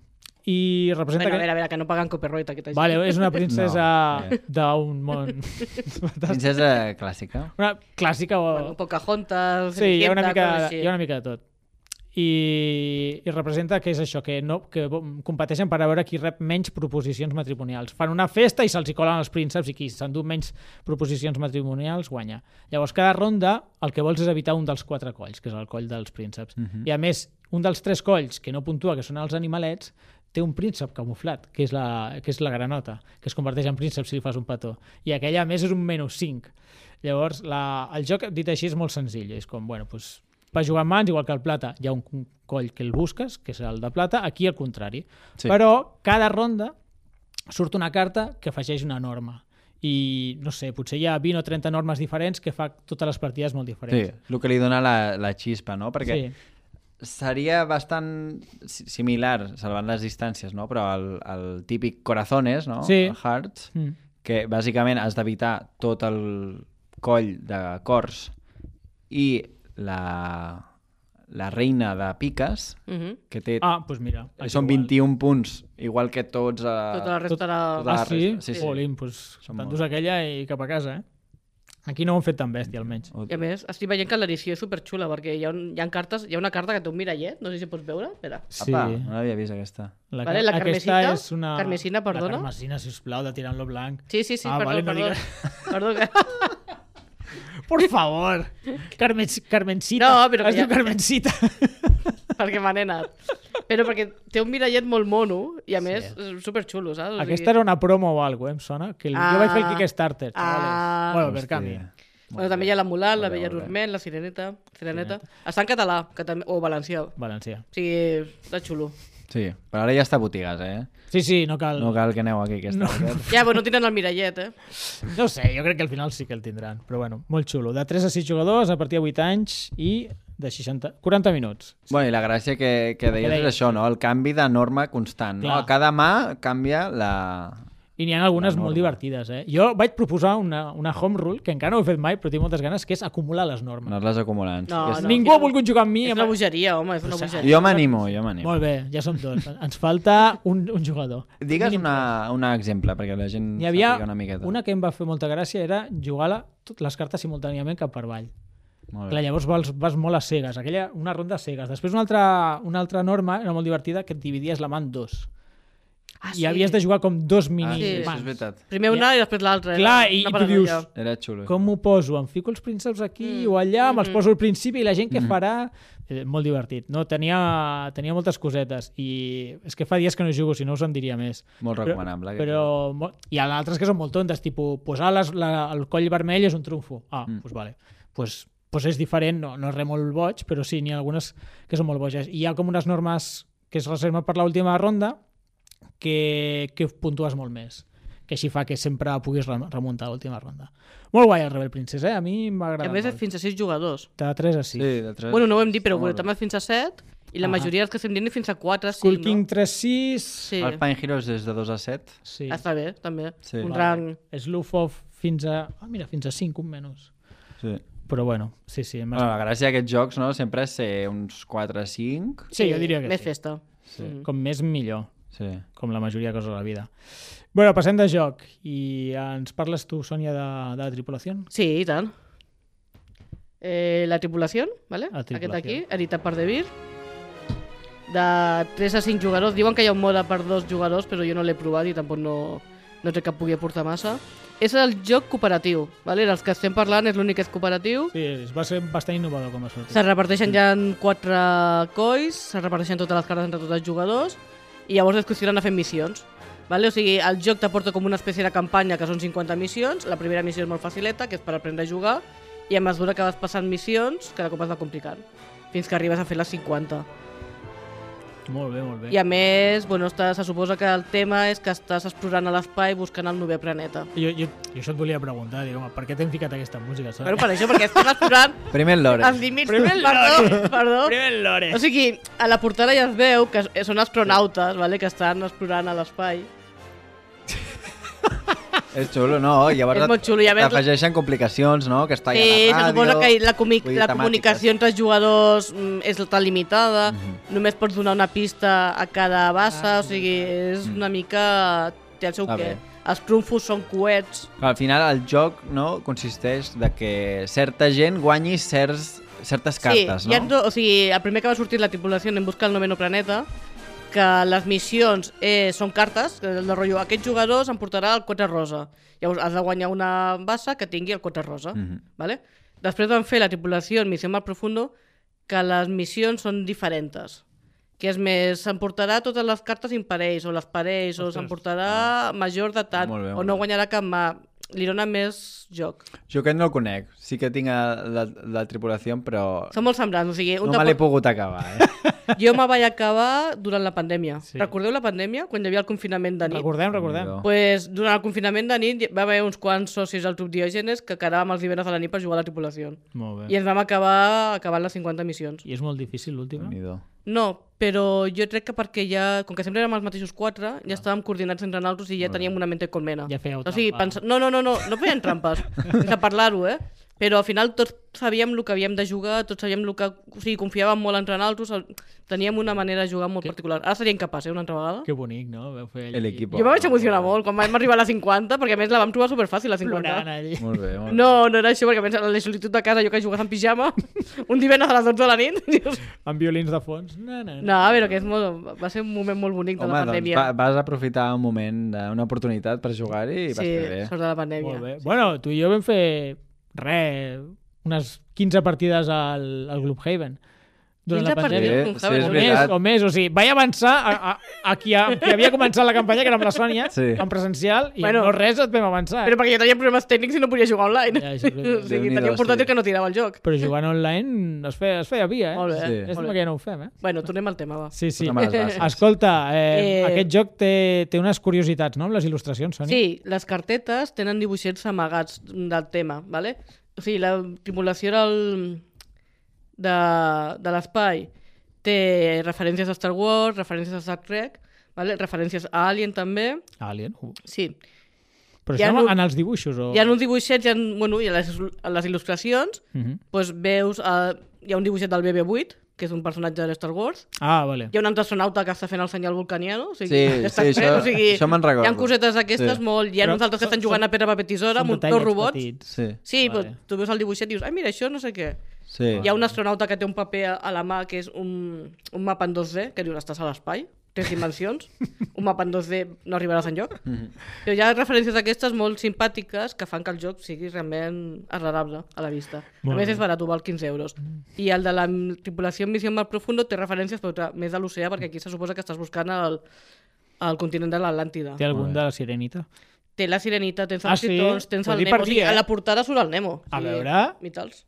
i representa
Bueno,
que...
a veure, a veure, que no paguen copyright aquesta gent.
Vale, és una princesa
No,
no, d'un
[LAUGHS]
món...
Princesa clàssica.
una clàssica o...
Bueno, Pocahontas,
Sí, hi ha una
Cenicienta,
mica,
coses així.
hi ha una mica de tot. I, i representa que és això, que, no, que competeixen per a veure qui rep menys proposicions matrimonials. Fan una festa i se'ls hi colen els prínceps i qui s'endú menys proposicions matrimonials guanya. Llavors, cada ronda el que vols és evitar un dels quatre colls, que és el coll dels prínceps. I a més, un dels tres colls que no puntua, que són els animalets, té un príncep camuflat, que és la, que és la granota, que es converteix en príncep si li fas un petó. I aquella, a més, és un menys 5. Llavors, la, el joc, dit així, és molt senzill. És com, bueno, doncs, vas jugar amb mans, igual que el plata, hi ha un c- coll que el busques, que és el de plata, aquí al contrari. Sí.
Sí.
Però cada ronda surt una carta que afegeix una norma i no sé, potser hi ha 20 o 30 normes diferents que fa totes les partides molt
Sí,
diferents.
el que li dona la, la xispa, no? Perquè
Sí.
seria bastant si- similar, salvant les distàncies, no? Però el, el típic Corazones, no?
Sí.
El Hearts,
Mm.
que bàsicament has d'evitar tot el coll de cors i la la reina de piques,
Mhm.
que té,
Ah, doncs mira. aquí
Eh, són
igual.
21 punts, igual que tots... Eh,
Tota la resta era...
tota la
Ah, sí?
resta, sí, sí.
Olin, doncs
Són
t'endús
molts.
aquella i cap a casa, eh? Aquí no ho han fet tan bèstia, almenys.
O-
I a més, estic veient que l'edició és superxula, perquè hi ha, un, hi ha cartes, hi ha una carta que té un mirallet, no sé si pots veure, espera.
Sí.
Apa, no l'havia vist aquesta.
La,
Vale, la
aquesta
carmesita?
és una...
Carmesina, perdona?
La carmesina, sisplau, de tirar-lo blanc.
Sí, sí, sí,
Ah,
perdó,
vale, no
perdó.
digues.
[LAUGHS]
[LAUGHS]
perdó que...
Por favor! Carmen, Carmencita.
No, però que
Es diu
ja-
Carmencita.
[LAUGHS] perquè me n'he anat. Però perquè té un mirallet molt mono i a més és superxulo, saps? O sigui-
Aquesta era una promo o alguna cosa, em sona. Que el... Jo
Ah.
vaig fer el Kickstarter, xavales.
Ah.
Bueno, per canvi.
Bueno, també hi ha la Mulan, la
Molt bé,
Bella
molt bé.
Dorment, la Sireneta, Sireneta. Està en català, que també, o valencià.
Valencià.
O sigui, està xulo.
Sí, però ara ja està a botigues, eh?
Sí, sí, no cal...
No
No,
cal que aneu aquí, aquesta. No.
Ja, però no tenen el mirallet, eh?
no sé, jo crec que al final sí que el tindran. Però bueno, molt xulo. De 3 a 6 jugadors, a partir de 8 anys i de 60... 40 minuts.
Bueno, i la gràcia que, que deies és
deies.
això, no? El canvi de norma constant, no?
Clar.
A cada mà canvia la...
I n'hi ha algunes
La norma.
molt divertides, eh? Jo vaig proposar una, una home rule, que encara no ho he fet mai, però tinc moltes ganes, que és acumular les normes.
Anar-les acumulant.
No,
Ja està.
No, Ningú
és
ha volgut jugar amb mi.
És
amb-
una bogeria, home, és una bogeria.
Jo m'animo, jo m'animo.
Molt bé, ja som dos. Ens falta un, un jugador.
Digues una, un exemple, perquè la gent
N'hi havia
sàpiga una miqueta.
una que em va fer molta gràcia, era jugar-la totes les cartes simultàniament cap per avall.
Molt
Clar,
bé.
llavors vas, vas molt a cegues, aquella, una ronda a cegues. Després una altra, una altra norma era molt divertida, que et dividies la mà en dos.
Ah,
I havies de jugar com dos mini
Ah, sí,
Sí.
això
mans.
és veritat.
Primer una i després l'altra. eh?
Clar, i-
Una
i tu
paranoia.
dius,
Era xulo.
Com m'ho poso? Em fico els prínceps aquí o allà, me'ls poso al principi i la gent que
Mm-hmm.
farà... Eh, molt divertit. No, tenia, tenia moltes cosetes i és que fa dies que no jugo, si no us en diria més.
Molt recomanable. aquest
Però, però mo- hi ha altres que són molt tontes, tipus posar les, la, el coll vermell és un trumfo. Ah, doncs pues vale. Pues, pues és diferent, no, no és res molt boig, però sí, n'hi ha algunes que són molt boges. I hi ha com unes normes que es reserven per l'última ronda que, que puntues molt més que així fa que sempre puguis rem- remuntar a l'última ronda. Molt guai el Rebel Princess, eh? A mi m'ha
I
agradat
a més, és
molt.
fins a 6 jugadors.
De 3 a 6.
Sí, de tres...
Bueno, no ho hem dit, però
Molt bé.
també fins a 7 i la
Ah.
majoria dels que estem dient fins a 4, 5,
Skull King
no?
3 6...
Sí,
El Pine Heroes és de 2 a 7.
sí.
està bé, també.
Sí.
Un
Vale.
rang...
Sloof Off fins a... Ah, mira, fins a 5, un menys.
Sí.
Però bueno, sí, sí. m'ha-
Bueno, la gràcia d'aquests jocs, no?, sempre és ser uns 4 a 5.
Sí, jo diria que
Més
sí.
festa. Mm.
Sí.
Com més millor,
Sí.
com la majoria de coses de la vida. bueno, passem de joc. I ens parles tu, Sònia, de, de la tripulació?
Sí, i tant. Eh, la tripulació, ¿vale?
La tripulació.
aquest aquí, editat per Devir. De 3 a 5 jugadors. Diuen que hi ha un mode per dos jugadors, però jo no l'he provat i tampoc no, no crec que pugui aportar massa. És el joc cooperatiu, ¿vale? dels que estem parlant és l'únic que és cooperatiu.
Sí, es va ser bastant innovador com a sortit.
Se reparteixen ja en quatre colls, se reparteixen totes les cartes entre tots els jugadors i llavors es consideren a fer missions. Vale? O sigui, el joc t'aporta com una espècie de campanya que són 50 missions, la primera missió és molt facileta, que és per aprendre a jugar, i a mesura que vas passant missions, cada cop es va complicant, fins que arribes a fer les 50.
Molt bé, molt bé.
I a més, bueno, està, se suposa que el tema és que estàs explorant a l'espai buscant el novè planeta.
Jo, jo, jo això et volia preguntar, dic, home, per què t'hem ficat aquesta música? Sònia?
Bueno, per això, perquè estàs explorant
Primer el Lore.
els límits... Perdó, perdó,
Primer lore!
O sigui, a la portada ja es veu que són astronautes, vale? que estan explorant a l'espai.
És xulo, no? Llavors
És molt xulo, i a més-
T'afegeixen complicacions, no?, que està
Sí,
ahí a
Eh, se
la ràdio...
suposa que la, comi-
vull dir,
la
temàtiques.
comunicació entre els jugadors mm, és tan limitada,
Mhm.
només pots donar una pista a cada base,
Ah,
o sigui, és
Mm.
una mica... té el seu
Està
què.
bé.
Els trumfos són coets.
Clar, Al final el joc no consisteix de que certa gent guanyi certs, certes cartes,
sí, hi ha
no?
do- o sigui, el primer que va sortir la tripulació en busca el noveno planeta, que les missions eh, són cartes, que és el rotllo, aquest jugador s'emportarà el 4 rosa. Llavors has de guanyar una base que tingui el 4 rosa.
Mhm.
¿vale? Després van fer la tripulació en Missió Mar Profundo, que les missions són diferents. Que és més, s'emportarà totes les cartes imparells, o les parells, o
Ostres.
s'emportarà major d'etat,
Ah. Molt bé,
o
molt
no
bé.
guanyarà cap mà. Li dona més joc.
Jo aquest no el conec. Sí que tinc eh, la, la tripulació, però
Són molt semblants, o sigui... Un
no
te
me l'he
pot-
pogut acabar,
[LAUGHS]
eh?
Jo me vaig acabar durant la pandèmia.
Sí.
Sí. Recordeu la pandèmia? Quan hi havia el confinament de nit. Record...
Recordem, recordem.
Déu.
Pues, durant el confinament de nit va haver uns quants socis del Club Diògenes que quedàvem els divendres a la nit per jugar a la tripulació.
Molt
I
bé.
ens vam acabar acabant les 50 missions.
I és molt difícil l'última?
Déu-n'hi-do.
No, però jo crec que perquè ja, com que sempre érem els mateixos quatre, ja estàvem coordinats entre nosaltres i ja teníem una mente colmena.
Ja fèieu
o sigui,
trampa. [LAUGHS]
pensa... No, no, no, no, no feien trampes, sense parlar-ho, eh? Però al final tots sabíem el que havíem de jugar, tots sabíem el que... O sigui, confiàvem molt entre naltros, el- teníem una manera de jugar molt particular. Ara seria incapaç, eh, una altra vegada.
Que bonic, no? Vau fer allí-
El equipo.
Jo me vaig emocionar molt quan vam arribar a la 50, perquè a més la vam trobar superfàcil, la 50.
Plorant eh? allí.
Molt bé, molt bé.
No, no era això, perquè a més a la solitud de casa, jo que jugava en
[LAUGHS]
pijama, un divendres a les 12 de la nit, dius...
Amb violins de fons. No, no, no.
No, però que és molt, va ser un moment molt bonic de
Home,
la
doncs
pandèmia.
va, vas aprofitar un moment, eh, una oportunitat per jugar-hi i vas
sí,
fer bé.
sort de la pandèmia.
Molt bé. Bueno, tu i jo vam fer, re, unes 15 partides al, al Gloomhaven. Durant Doncs
15
la pandèmia.
partides,
Sí,
com saben,
sí, és
O
no?
més,
veritat.
o més, o sigui, vaig avançar a, a, a qui, a, qui havia començat la campanya, que era amb la Sònia,
Sí.
en presencial, i bueno,
Bueno.
no res et vam avançar. eh?
Però
Però,
perquè jo tenia problemes tècnics i no podia jugar online.
Ja,
Ja,
això és
[LAUGHS] o
veritat.
sigui,
Déu-n'hi-do,
tenia un portàtil
sí.
que no tirava el joc.
però jugant online es feia, es feia via, eh?
Molt bé.
Sí.
És
Molt
el
bé.
que ja no ho fem, eh?
Bueno, tornem al tema, va.
Sí, sí.
Posa'm a les bases.
Escolta, eh, eh...
Eh,
aquest joc té, té unes curiositats, no?, amb les il·lustracions, Sònia.
Sí, les cartetes tenen dibuixets amagats del tema, ¿vale? O sigui, la tripulació del, de, de l'espai té referències a Star Wars, referències a Star Trek, ¿vale? referències a Alien també,
Alien. Uh.
sí.
Però
Hi ha
això
un-
en els dibuixos o...
Hi ha uns dibuixets, hi ha, bueno, i a les, a les il·lustracions,
Mhm.
doncs veus, eh, hi ha un dibuixet del BB-8, que és un personatge de Star Wars,
Ah, vale.
hi ha un altre astronauta que està fent el senyal vulcaniano, o sigui,
Sí,
ja [LAUGHS] està
sí,
fent,
això-
o sigui,
això me'n recordo.
hi ha cosetes aquestes
Sí.
molt, hi ha
Però
uns altres que
són-
estan jugant a pedra, paper,
Són
tisora, amb un, dos
detallets
robots,
petits.
Sí,
Sí,
Vale.
vale. però tu veus el dibuixet i dius, ai, mira, això no sé què.
sí.
Hi ha un astronauta que té un paper a- a la mà que és un, un mapa en 2D, que dius, estàs a l'espai, tres
[LAUGHS]
dimensions, un mapa en 2D no arribaràs enlloc.
Mhm.
Però hi ha referències d'aquestes molt simpàtiques que fan que el joc sigui realment agradable a la vista.
Molt
a més,
bé. Mm.
és barat, ho val 15 euros. I el de la m- tripulació en missió en mar profundo té referències però, clar, més a l'oceà, perquè aquí se suposa que estàs buscant el, el continent de l'Atlàntida.
Té algun de la Sirenita.
Té la sirenita, tens els
Ah, sí?
tritons, tens
Pues
el
li
Nemo.
per
o
aquí,
sigui,
eh?
A la portada surt el Nemo.
A
O sigui,
veure.
Mitals.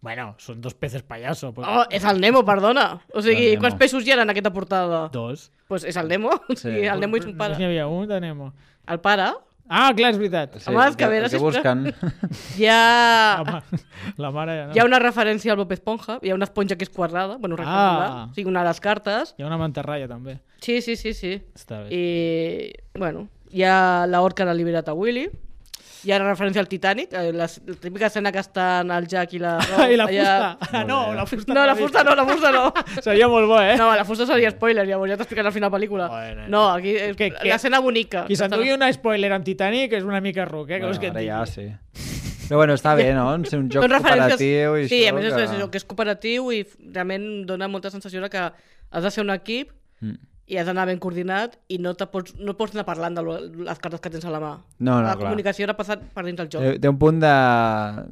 Bueno, són dos peces payaso. Però...
Oh, és el Nemo, perdona. O sigui,
El Nemo.
quants peixos hi ha en aquesta portada? Doncs
Dos.
pues és el Nemo. O sigui, el Nemo i son
Només n'hi
pare.
havia un de Nemo.
El pare.
Ah, clar, és veritat.
Sí,
Home, les
el que- el
caveres,
que
sisplau. [LAUGHS]
busquen.
Hi ha...
La, ma... [LAUGHS] la mare ja no.
Hi ha una referència al Bob Esponja. Hi ha una esponja que és quadrada, bueno, rectangular.
Ah.
O sigui, una de les cartes.
Hi ha una mantarralla, també.
Sí, sí, sí, sí.
Està [LAUGHS] bé.
I, bueno, hi ha l'orca que ha liberat a Willy. Hi ha referència al Titanic, eh, la, la típica escena que estan el Jack i la...
[LAUGHS] I la
allà-
fusta. Ah, no, la fusta.
No, la fusta no, la fusta no.
[LAUGHS] Seria molt bo, eh?
No, la fusta seria spoiler, llavors ja t'explicaré al final de la pel·lícula.
Bueno. eh.
No, aquí és
Que- que-
l'escena bonica.
Qui s'endugui un spoiler amb Titanic és una mica ruc, eh? Que vols
bueno,
que et
ara
digui?
ja, sí. Però bueno, està bé, no? En ser un joc
Són referències-
cooperatiu i
sí,
això
a més
que...
és això, que és cooperatiu i f- realment dona molta sensació de que has de ser un equip
Mm.
i has d'anar ben coordinat i no, te pots, no pots anar parlant de lo- les cartes que tens a la mà.
No, no,
la
clar. Eh,
comunicació era passat per dins del joc.
Té, té un punt de...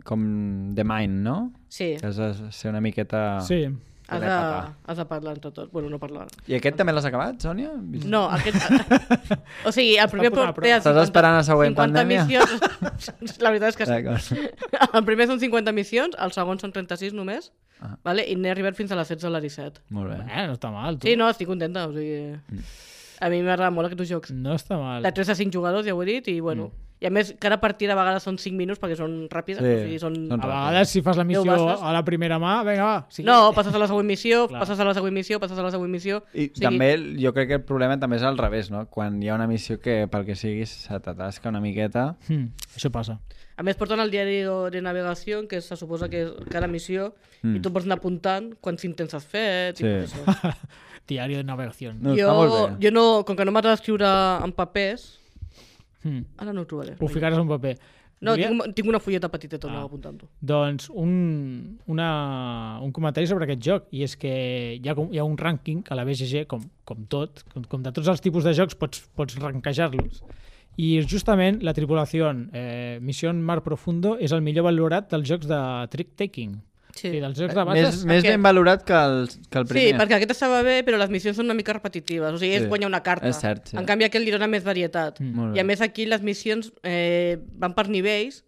com de mind, no?
sí,
Que has de ser una miqueta...
Sí.
has de,
telepata.
has de parlar entre tots. Bueno, no parlar.
I aquest també l'has acabat, Sònia? Vist-
No,
[LAUGHS]
aquest... o sigui, el primer...
posant a
pot-
prova.
té
Estàs esperant la següent
50
pandèmia? [LAUGHS]
Missions... la veritat és que sí.
D'acord.
El primer són 50 missions, el segon són 36 només,
Ah.
vale? i n'he arribat fins a les 16 o les 17.
Molt bé.
Eh, no està mal, tu.
Sí, no, estic contenta, o sigui...
Mm.
A mi m'agrada molt aquests jocs.
No està mal.
De 3 a 5 jugadors, ja ho he dit, i bueno... I a més, cada partida a vegades són 5 minuts perquè són ràpides,
Mm. Sí,
o sigui, són...
són
A vegades, si fas la
Deu
missió
bases.
a la primera mà, vinga, va. Sí.
No, passes a la següent missió,
Clar.
passes a la següent missió, passes a la següent missió...
I
o
sí. també jo crec que el problema també és al revés, no? Quan hi ha una missió que pel que sigui se t'atasca una miqueta...
Hm, això [LAUGHS] passa.
A més, porten el diari de navegació, que se suposa que és cada missió,
Mm.
i tu pots anar apuntant quants intents has fet...
Sí.
I tot això.
Diari de navegació.
No, està molt
jo,
bé.
jo no, com que no m'agrada escriure en papers,
Hm.
ara no ho trobaré.
Ho ficaràs en paper.
No,
Volia-
tinc, tinc una fulleta petita, tot
Ah.
ah. apuntant-ho.
Doncs un, una, un comentari sobre aquest joc i és que hi ha, com- hi ha un rànquing a la BGG com, com tot, com, com de tots els tipus de jocs pots, pots ranquejar-los i justament la tripulació eh, Mission Mar Profundo és el millor valorat dels jocs de trick-taking
Sí.
i dels jocs de
eh, Més,
bases
més
Aquest-
ben valorat que el, que el primer.
Sí, perquè aquest estava bé, però les missions són una mica repetitives. O sigui, és
Sí.
guanyar una carta.
És cert, sí. Mm.
En canvi, aquest li dona més varietat.
Molt bé.
I a més, aquí les missions eh, van per nivells,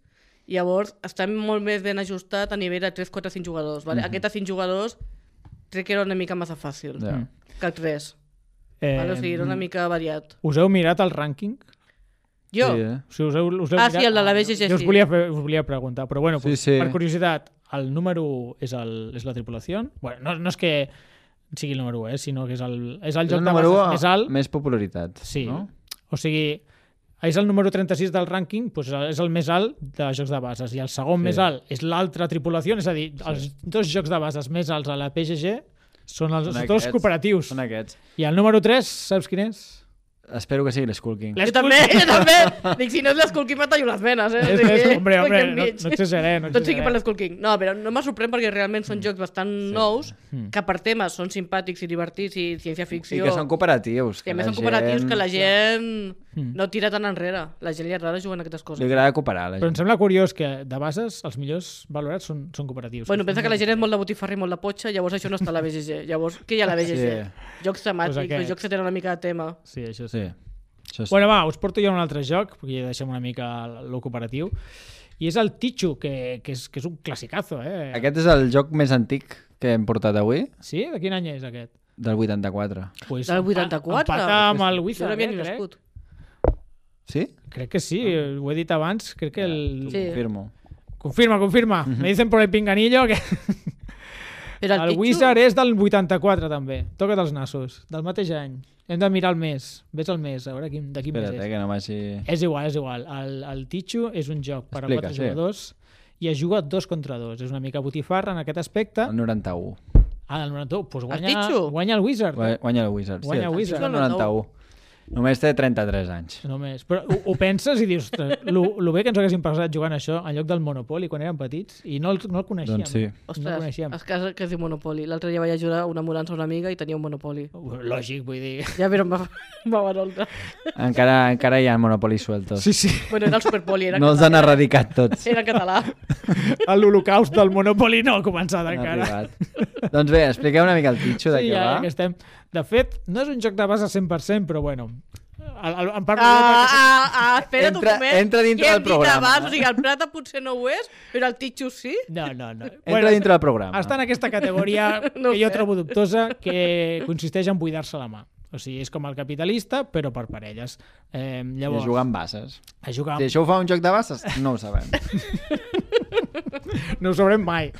llavors està molt més ben ajustat a nivell de 3, 4, 5 jugadors.
Mm-hmm.
Vale? Aquest a 5 jugadors crec que era una mica massa fàcil
Ja. Mm.
Mm.
que el 3.
eh,
Vale? O sigui, era una mica variat.
us heu mirat el rànquing?
Jo,
Sí,
sí,
eh?
O sigui, us heu, us heu
Ah,
mirat...
sí, el de la BGG,
jo us
sí.
volia, fer, us volia preguntar, però bueno,
Sí,
pues,
sí.
per curiositat, el número 1 és, el, és la tripulació? Bueno, no, no és que sigui el número 1, eh, sinó que és el, és el
És
joc
el
de
número
bases
u
més alt.
més popularitat.
Sí.
No?
O sigui, és el número 36 del rànquing, doncs és el més alt de jocs de bases, i el segon més alt és l'altra tripulació, és a dir, els dos jocs de bases més alts a la PGG són els dos
Són aquests.
cooperatius.
Són aquests.
I el número 3, saps quin és?
Espero que sigui l'Skull King.
Les
Jo també, jo també.
[LAUGHS]
Dic, si no és l'Skull King, me tallo les venes, eh? O
És,
sigui,
és, hombre,
vull
hombre,
que em
no,
veig.
no exageraré. No
Tot sigui per
exageraré.
l'Skull King. No, però no me sorprèn perquè realment
Mm.
són jocs bastant nous, que per temes són simpàtics i divertits i
I
ciència-ficció.
que són cooperatius.
I
que
a més
la
són cooperatius
gent- Mm.
que la gent
Mm.
no tira tant enrere. La gent li agrada jugant a aquestes
Li
coses.
agrada cooperar, a la
Però
gent.
em sembla curiós que de bases els millors valorats són, són cooperatius.
Bueno, pensa que la gent és molt de botifarra i molt de potxa, llavors això no està a la
[LAUGHS]
BGG. Llavors, què hi ha a la BGG? Jocs temàtics,
Doncs aquests.
jocs que tenen una mica de tema.
Sí, això sí.
Sí. Això és...
Bueno, va, us porto jo a un altre joc, perquè ja deixem una mica lo cooperatiu. I és el Tichu, que, que, és, que és un classicazo, eh?
Aquest és el joc més antic que hem portat avui,
Sí? De quin any és aquest?
del 84.
Pues
Del
empa-
84?
Empata amb el
Jo no
Wizard,
havia
eh,
ni
crec.
nascut.
Sí?
Crec que sí,
Ah.
ho he dit abans. Crec que el...
Sí.
Confirmo.
Confirma, confirma.
Mhm.
Me dicen por el pinganillo que
Però
[LAUGHS] el,
el, Pichu-
Wizard és del 84 també. Toca't els nassos, del mateix any. Hem de mirar el mes. Ves el mes, a veure quin, de quin mes
Espera't,
és.
eh, que no m'hagi...
És igual, és igual. El, el Tichu és un joc per
Explica,
a quatre
sí.
jugadors i es juga dos contra dos. És una mica botifarra en aquest aspecte.
El 91.
Ah, el 91, doncs guanya,
Tichu?
guanya el Wizard.
Guanya guanya el Wizard.
Guanya el
sí,
Wizard.
El 91. Només té 33 anys.
Només. Però ho, ho penses i dius, ostres, lo, lo bé que ens haguéssim passat jugant a això en lloc del Monopoly quan érem petits i no el, no el coneixíem.
Doncs sí.
No el
Ostres, Ah.
coneixíem.
es casa que es diu Monopoli. L'altre dia vaig ajudar una mudança a una amiga i tenia un Monopoli.
Lògic, vull dir.
Ja però em va, [LAUGHS] em va venir.
Encara, encara hi ha Monopoly sueltos.
Sí, sí.
Bueno, era el Superpoli, era,
No els han
català,
erradicat tots.
era
[LAUGHS]
català.
L'holocaust del Monopoly no ha començat
Han
encara.
arribat. doncs bé, expliqueu una mica el pitxo de
Sí,
què
ja,
va.
ja que estem. De fet, no és un joc de base 100%, però bueno. El, el, en parlo jo
Ah,
perquè...
ah, ah, espera't
Entra-
un moment.
entra dintre
Què hem
del programa.
Dit abans, o sigui, el Prata potser no ho és, però el Titxo sí.
No, no, no.
Entra dintre del programa.
Està en aquesta categoria no
No ho
que jo
sé.
trobo dubtosa, que consisteix en buidar-se la mà. O sigui, és com el capitalista, però per parelles. Eh,
I
llavors, Ah.
jugar amb bases.
a jugar amb-
Si això ho fa un joc de bases, no ho sabem.
[LAUGHS] no ho sabrem mai.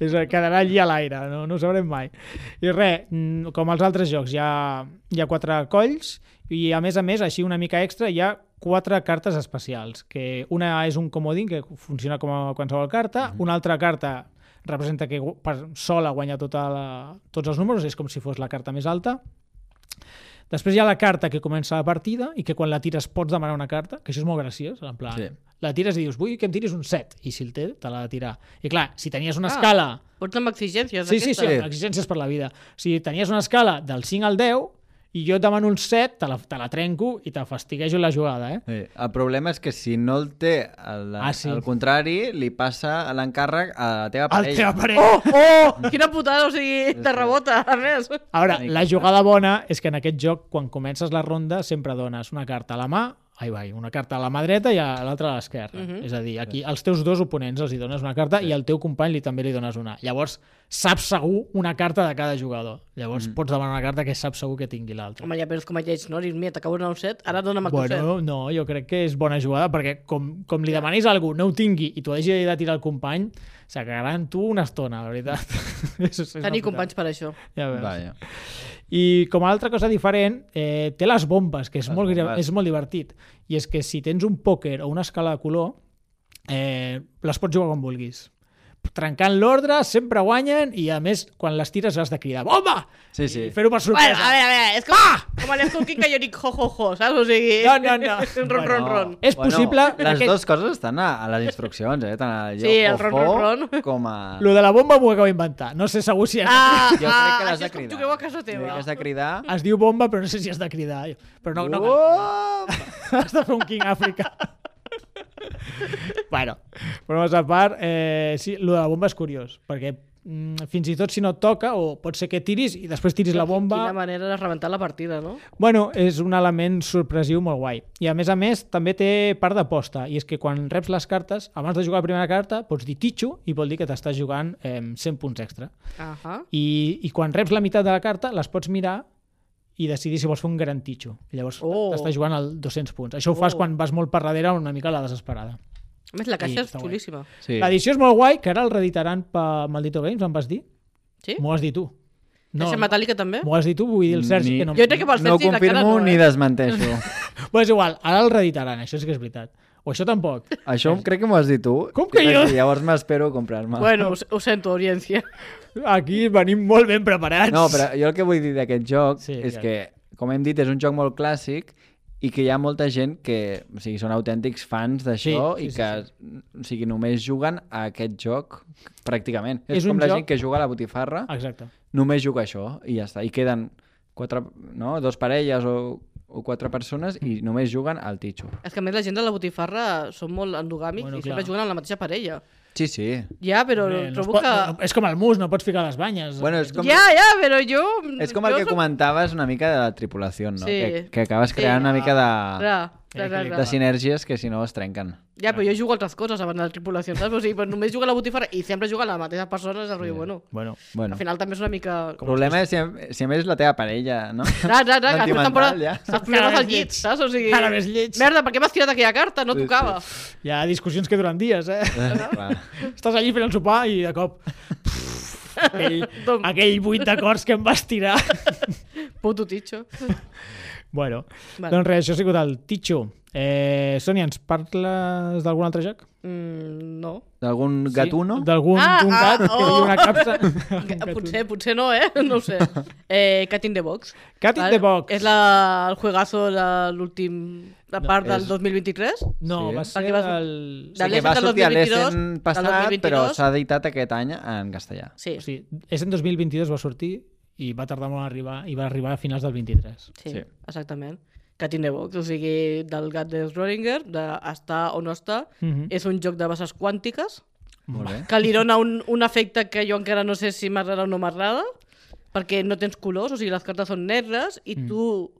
és, a dir, quedarà allí a l'aire, no, no ho sabrem mai. I res, mm, com els altres jocs, hi ha, hi ha quatre colls i, a més a més, així una mica extra, hi ha quatre cartes especials, que una és un comodín que funciona com a qualsevol carta, una altra carta representa que gu- per sola guanya tota la, tots els números, és com si fos la carta més alta, Després hi ha la carta que comença la partida i que quan la tires pots demanar una carta, que això és molt graciós, en plan,
Sí.
sí. la tires i dius, vull que em tiris un 7, i si el té, te l'ha de tirar. I clar, si tenies una
Ah,
escala...
Pots amb exigències
Sí, sí, sí,
d'aquestes.
exigències per la vida. Si tenies una escala del 5 al 10 i jo et demano un 7, te la, te la trenco i te fastiguejo la jugada, eh?
Sí. El problema és que si no el té el,
Ah, sí.
el contrari, li passa l'encàrrec a la teva
El teu
parella.
aparell.
Oh, oh, quina putada, o sigui, te rebota, a més.
Ara, la jugada bona és que en aquest joc, quan comences la ronda, sempre dones una carta a la mà, ai, vai, una carta a la mà dreta i a l'altra a l'esquerra.
Mhm.
És a dir, aquí als teus dos oponents els hi dones una carta i al teu company li també li dones una. Llavors, saps segur una carta de cada jugador. Llavors, pots demanar una carta que saps segur que tingui l'altre.
Mm. Home, ja veus com a lleig, no? Dius, mira, t'acabo d'anar un set, ara dona'm el bueno.
Bueno, no, jo crec que és bona jugada perquè com, com li demanis a algú no ho tingui i t'ho hagi de tirar el company s'acabaran tu una estona, la veritat [LAUGHS] és, és
set.
una putada.
Tenir companys per això.
ja veus.
Vaja.
I com a altra cosa diferent, eh, té les bombes, que és,
Les
molt, gra-
bombes.
és molt divertit. I és que si tens un pòquer o una escala de color, eh, les pots jugar quan vulguis. Trencant l'ordre, sempre guanyen i, a més, quan les tires has de cridar «Bomba!»
Sí, sí.
i fer-ho per
Bueno, a
sorpresa.
veure, a veure, és com, ah! com a l'Skull King que jo dic jo, jo, jo, saps? O sigui,
No, no, no.
un [LAUGHS] ron, ron, ron.
És possible
Les
que-
dues coses estan a, a les instruccions, eh? Tant al
Sí, el ron, ron, ron.
com a...
Lo de la bomba m'ho acabo d'inventar. No sé segur si és...
Ah,
Jo crec que
ah, això
l'has de
és com
cridar.
jugueu a casa
Jo crec
teva.
que has de cridar...
Es diu bomba, però no sé si has de cridar. Però Ah, no, no,
Oh!
Uop!
Has de fer un King Africa. bueno, però a part, eh, sí, lo de la bomba és curiós, perquè mm, fins i tot si no et toca, o pot ser que tiris i després tiris la
Quina
bomba...
manera de rebentar la partida, no?
Bueno, és un element sorpresiu molt guai. I a més a més, també té part d'aposta, i és que quan reps les cartes, abans de jugar la primera carta, pots dir titxo i vol dir que t'estàs jugant eh, 100 punts extra.
Ahà.
I, I quan reps la meitat de la carta, les pots mirar i decidir si vols fer un gran titxo. Llavors
Oh.
t'estàs jugant al 200 punts. Això ho fas
Oh.
quan vas molt per darrere una mica a la desesperada.
A més, la
Sí,
caixa és
està guai.
xulíssima.
Sí.
L'edició és molt guai, que ara el reeditaran per Maldito Games, em vas dir?
Sí?
M'ho has dit tu.
No, caixa metàl·lica també?
M'ho has dit tu, vull dir el Sergi.
Ni-
Que no...
Jo crec que pel
No
Sergi la cara no,
confirmo
eh?
ni desmenteixo.
Però és igual, ara el reeditaran, això sí que és veritat. O això tampoc.
Això crec que m'ho has dit tu.
Com que
I
jo?
Llavors m'espero comprar-me.
Bueno, ho, ho sento, audiència.
Aquí venim molt ben preparats. [LAUGHS]
No, però jo el que vull dir d'aquest joc
Sí,
sí, és
ja.
que, com hem dit, és un joc molt clàssic i que hi ha molta gent que o sigui, són autèntics fans d'això
Sí, sí,
sí, sí, i
sí,
que o sigui, només juguen a aquest joc pràcticament.
És
És,
un
com la
joc- Ah.
gent que juga a la botifarra,
Exacte.
només juga a això i ja està. I queden quatre, no? dos parelles o, o quatre persones i només juguen al titxo.
És que a més la gent de la botifarra són molt endogàmics
Bueno,
bueno, i
clar.
sempre juguen amb la mateixa parella.
Sí, sí.
Ja, però
Bé, no es
trobo
pot-
que...
no, és com el mus, no pots ficar les banyes.
Bueno, és com,
Ja, ja, però jo...
és com
jo
el que
soc-
comentaves una mica de la tripulació,
Sí.
no? Que, que acabes creant
Sí.
una mica
Eh,
de,
Ra, ra, ra, ra.
de sinergies que si no es trenquen.
Ja, però jo jugo a altres coses abans de Pues la tripulació, saps? O sigui, però només jugo a la botifarra i sempre jugo a la mateixa persona, és el rotllo, bueno...
Bueno,
Bueno.
Al final també és una mica...
El problema és si, si a més és la teva parella,
[LAUGHS]
no?
Ra, ra, ra, que aquesta
Sentimental,
temporada
ja.
els
Cada
problemes al
més
llit,
lleig.
saps? O sigui,
Cada més lleig.
[LAUGHS] Merda, per què m'has tirat aquella carta? No
Sí,
tocava.
hi ha discussions que duren dies, eh?
Clar.
[LAUGHS] Estàs allí fent el sopar i de cop... pff,
[LAUGHS]
aquell,
Tom.
aquell buit d'acords que em vas
[LAUGHS]
tirar.
Puto titxo.
bueno,
Vale.
doncs res, això ha sigut el Ticho. Eh, Sònia, ens parles d'algun altre joc?
Mm, no.
D'algun sí, gatuno?
D'algun
Ah,
d'un
ah,
gat que hi
oh.
una
[LAUGHS]
capsa? Un
Que-
gatuno.
Potser, potser no, eh? No
[LAUGHS]
ho sé. Eh, Cat in the Box.
Cat in
Val?
the Box.
És la, el juegazo de l'últim... La part del
és-
2023.
No,
Sí.
va ser
Perquè Ah, vas-
el...
de
que va
l'Essen del
sortir a
2022,
l'Essen
del
passat,
2022.
però s'ha editat aquest any en castellà.
Sí.
Sí, és en 2022 va sortir i va tardar molt a arribar i va arribar a finals del 23.
Sí,
Sí.
sí. exactament. Cat in the Box, o sigui, del gat de Schrödinger, d'estar o no estar,
Mhm.
és un joc de bases quàntiques,
Molt bé.
que li dona un, un efecte que jo encara no sé si m'agrada o no m'agrada, perquè no tens colors, o sigui, les cartes són negres, i mm. tu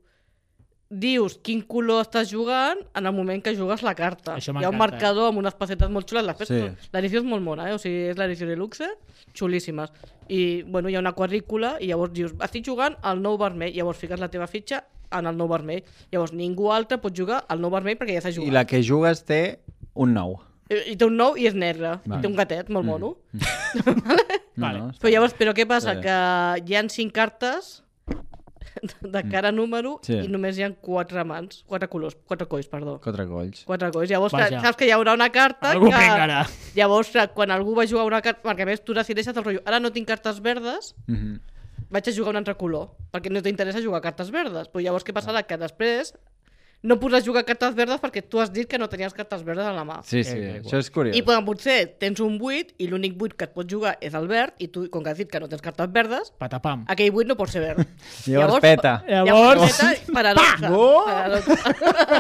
dius quin color estàs jugant en el moment que jugues la carta.
Això
Hi ha
m'encanta.
un
eh?
marcador amb unes pessetes molt xules. Les
Sí.
sí. L'edició és molt mona, eh? o sigui, és l'edició de luxe, xulíssimes. I bueno, hi ha una quadrícula i llavors dius, estic jugant al nou vermell, llavors fiques la teva fitxa en el nou vermell. Llavors ningú altre pot jugar al nou vermell perquè ja s'ha jugat.
I la que jugues té un nou.
I, I té un nou i és negre.
Val.
I té un gatet molt
Mm.
mono.
Vale.
No, no,
Però llavors, però què passa?
Vale.
Que hi han cinc cartes de cara número
Mm. Sí.
i només hi han quatre mans, quatre colors, quatre colls, perdó.
Quatre colls.
Quatre colls. Llavors,
Vaja.
clar, saps que hi haurà una carta
Algú
que...
prengarà.
Llavors, clar, quan algú va jugar una carta... Perquè a més tu decideixes el rotllo. Ara no tinc cartes verdes,
Mm -hmm.
vaig a jugar un altre color, perquè no t'interessa jugar cartes verdes. Però llavors què
Ah.
passarà? Que després no podràs jugar cartes verdes perquè tu has dit que no tenies cartes verdes a la mà.
Sí, sí,
Eh,
això és curiós.
I quan potser tens un 8 i l'únic 8 que et pots jugar és el verd i tu, com que has dit que no tens cartes verdes,
Patapam.
aquell 8 no pot ser verd.
[LAUGHS] Llavors peta.
Llavors- [LAUGHS]
peta, paradoxa.
Oh!
paradoxa.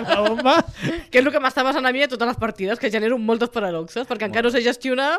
[LAUGHS] La bomba.
[LAUGHS] que és el que m'està passant a mi a totes les partides, que genero moltes paradoxes, perquè encara no sé gestionar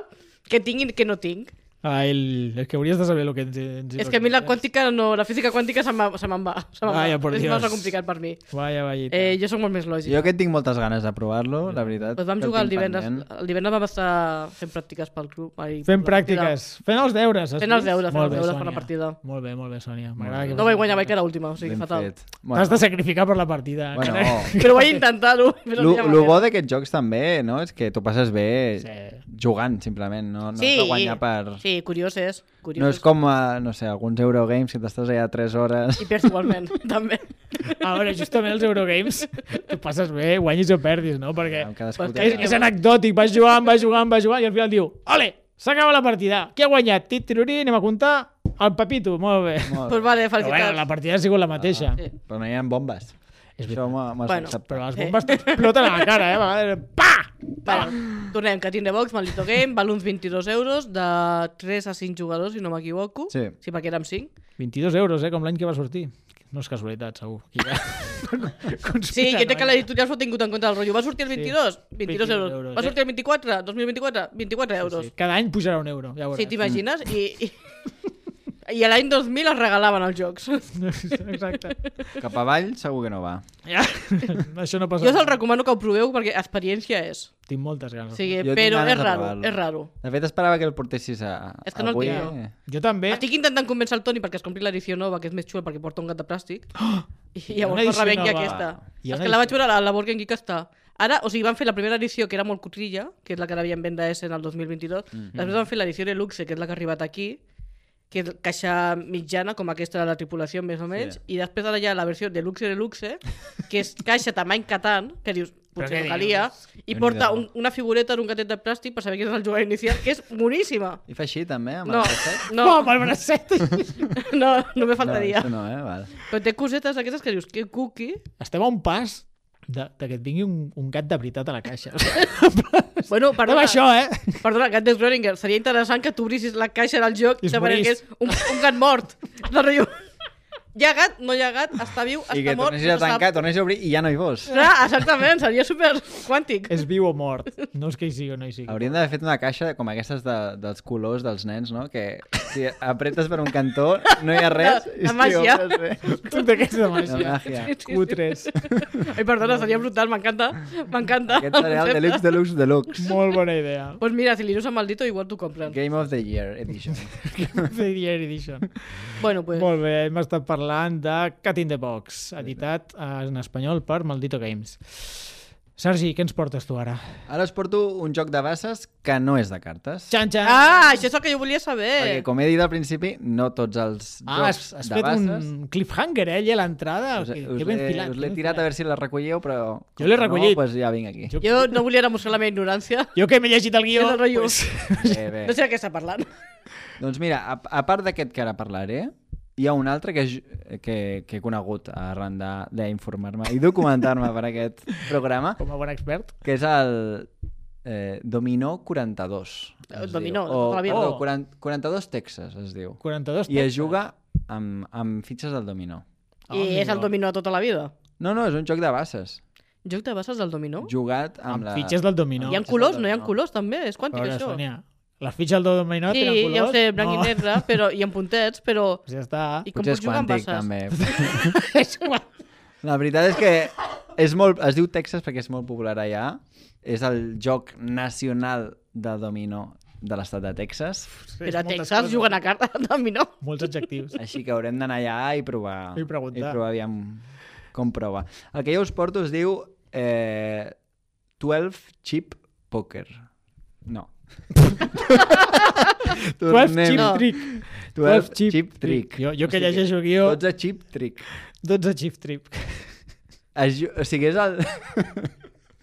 què tinc i què no tinc.
Ah, el, el que hauries de saber el que ens, ens hi
és que a mi la quàntica no, la física quàntica se me'n se me'n va. Se me'n
Vaya,
va.
por
és
Ah, Dios.
massa complicat per mi.
Vaya, vaya.
Eh, jo sóc molt més lògic.
Jo que tinc moltes ganes de provar-lo, la veritat.
Pues vam
que el
jugar el
tinc
divendres.
pendent.
El divendres vam estar fent pràctiques pel club. Ai,
Fent
per la partida.
pràctiques, fent els deures. has
Fent els
vist?
deures, fent
Molt
els
bé,
deures per la
Sònia.
partida.
Molt bé, molt bé, Sònia. M'agrada que...
No vaig guanyar, vaig quedar última, o sigui,
Ben
fatal.
fet.
T'has de sacrificar per la partida.
Bueno, oh.
carai.
Però vaig intentar-ho. [LAUGHS] però no
Lo,
tenia
lo
manera.
bo d'aquests jocs també, no? És que t'ho passes bé
Sí.
jugant, simplement. No, no has de guanyar per...
Sí, curiós és. Curiós.
No és com, a, no sé, alguns Eurogames que t'estàs allà 3 hores...
I
[LAUGHS]
perds igualment, també.
[LAUGHS] A veure, justament els Eurogames, [LAUGHS] tu passes bé, guanyis o perdis, no? Perquè
[LAUGHS] Amb cadascú
Pues
té-
és, és anecdòtic, vas jugant, vas jugant, vas jugant, i al final diu, ole, s'acaba la partida, qui ha guanyat? Tit, tirurí, anem a comptar el Pepito, molt bé.
Doncs
Molt
pues vale,
Però bueno,
felicitats.
la partida ha sigut la mateixa.
Ah, Sí.
bé. Però no hi ha bombes.
És
Això
veritat.
m'ha m'has
Bueno,
acceptat.
Però les
Sí.
bombes t'exploten a la cara, eh? A vegades, pa!
Vale, tornem, que tindré box, maldito game, val uns 22 euros, de 3 a 5 jugadors, si no m'equivoco.
Sí.
Sí, perquè érem 5.
22 euros, eh? Com l'any que va sortir. No és casualitat, segur. Aquí ja. eh?
Sí, jo crec que l'editorial s'ho ha tingut en compte del rotllo. Va sortir el 22? 22,
22
euros.
euros,
Va
eh?
sortir el 24? 2024? 24 euros.
Sí,
Sí,
cada any pujarà un euro, ja ho veuràs.
t'imagines?
[LAUGHS]
I, i, i a l'any 2000 es regalaven els jocs.
[LAUGHS] Exacte.
[LAUGHS]
Cap avall segur que no va.
Ja. [LAUGHS] Això no passa.
Jo us el recomano que ho proveu perquè experiència és.
Tinc moltes
O
ganes. Sí.
sigui,
Jo
Eh,
tinc
però
ganes
és
de
raro,
provar-lo.
és raro.
De fet, esperava que el portessis a,
És que no el
avui.
tinc jo.
eh?
Jo també.
Estic intentant convèncer el Toni perquè es compri l'edició nova, que és més xula perquè porta un gat de plàstic. I
Ah! Hi ha
llavors
una
no revenc
edició nova.
aquesta.
Hi ha
És
una
que la vaig
edició-
veure a la- a la Borgen Geek està. Ara, o sigui, van fer la primera edició, que era molt
Mhm.
cutrilla, que és la que ara havien venda S en el 2022. Després van fer l'edició de luxe, que és la que ha arribat aquí, que és caixa mitjana, com aquesta de la tripulació, més o menys,
Sí.
i després ara hi ha la versió de luxe de luxe, que és caixa tamany Catan, que dius,
què
potser no
dius?
calia, i
Déu-n'hi-do.
porta un, una figureta d'un gatet de plàstic per saber que és el jugador inicial, que és boníssima.
I fa així, també, amb
No,
el bracet?
no,
Oh, amb el bracet!
[LAUGHS] no, no me [LAUGHS]
No,
faltaria.
això no, eh? Val.
Però té cosetes aquestes que dius, que
[LAUGHS]
cookie.
[LAUGHS] Estem a un pas de, de que et vingui un, un gat de veritat a la
[LAUGHS]
caixa.
Bueno,
Perdona,
perdona,
això, eh?
perdona, Gat de Schrödinger, seria interessant que t'obrissis la caixa del joc
I
i
es
t'aparegués un, un gat
[LAUGHS]
mort. De rotllo. Hi ha gat, no hi ha gat, està viu, està
I que
mort.
tornessis a
no se sap.
tancar, tornessis a obrir i ja no hi vols.
Clar, exactament, seria super quàntic.
Eh.
És viu o mort. No és que hi sigui o no hi sigui.
Hauríem d'haver fet una caixa com aquestes de, dels colors dels nens, no? Que si apretes per un cantó, no hi ha res.
La-
i
la
si
màgia.
obres bé.
Tu d'aquests de
La
màgia.
màgia.
Cutres.
Ai, perdona, seria brutal, m'encanta. M'encanta.
Aquest serà el deluxe, deluxe, deluxe.
Molt bona idea. [LAUGHS]
Pues mira, si li dius a Maldito, igual t'ho compren.
Game of the Year Edition.
The Year Edition.
Bueno, pues...
Molt bé, hem estat parlant de Cat in the Box, editat eh, en espanyol per Maldito Games. Sergi, què ens portes tu ara?
Ara us porto un joc de bases que no és de cartes.
Xan, xan!
Ah, això és el que jo volia saber.
Perquè, com he dit al principi, no tots els
Ah,
jocs
has, has
de
fet
bases...
un cliffhanger, eh, allà a l'entrada.
Us,
Que-
us
que ben
l'he-
filat,
us
que
l'he
ben
tirat a
filat.
veure si la recolliu, però...
Jo l'he recollit.
No, doncs ja vinc aquí.
Jo-
Jo no volia demostrar la meva ignorància.
Jo que m'he llegit el guió...
Jo no, rotllo.
Bé,
[LAUGHS]
bé.
No sé de què està parlant.
Doncs mira, a, a part d'aquest que ara parlaré, hi ha un altre que, ju- que, que he conegut arran de- d'informar-me i documentar-me per aquest programa,
Com a bon expert.
que és el eh, Dominó 42. es
Dominó,
diu.
de tota
o,
la vida.
perdó, 40, 42 Texas es diu.
42
I es juga amb, amb fitxes del dominó.
Ah,
I és
amigo.
el dominó de tota la vida.
No, no, és un joc de bases.
Joc de bases del dominó?
Jugat amb,
Amb
la...
fitxes del dominó.
Hi ha
és el
colors, no hi ha
dominó.
colors, també?
A
És quàntic,
veure,
això.
Sònia, les fitxes del dominó
sí,
tenen colors?
ja ho sé, blanc
no.
i negre, però i amb puntets, però...
Pues ja està.
I com
Potser és
pots jugar amb
quàntic,
bases? [LAUGHS]
també.
És igual.
La veritat és que és molt, es diu Texas perquè és molt popular allà. És el joc nacional de dominó de l'estat de Texas.
Però a
moltes
Texas
coses.
juguen a carta [LAUGHS] de dominó.
Molts adjectius.
Així que haurem d'anar allà i provar.
I preguntar.
I provar aviam com prova. El que jo us porto es diu eh, 12 Chip Poker. No.
12
Tornem.
chip
No.
trick.
12 chip, trick.
Jo, jo que
O sigui,
llegeixo guió, 12,
12 chip trick.
12 chip trick.
Es, ju- o sigui, és el,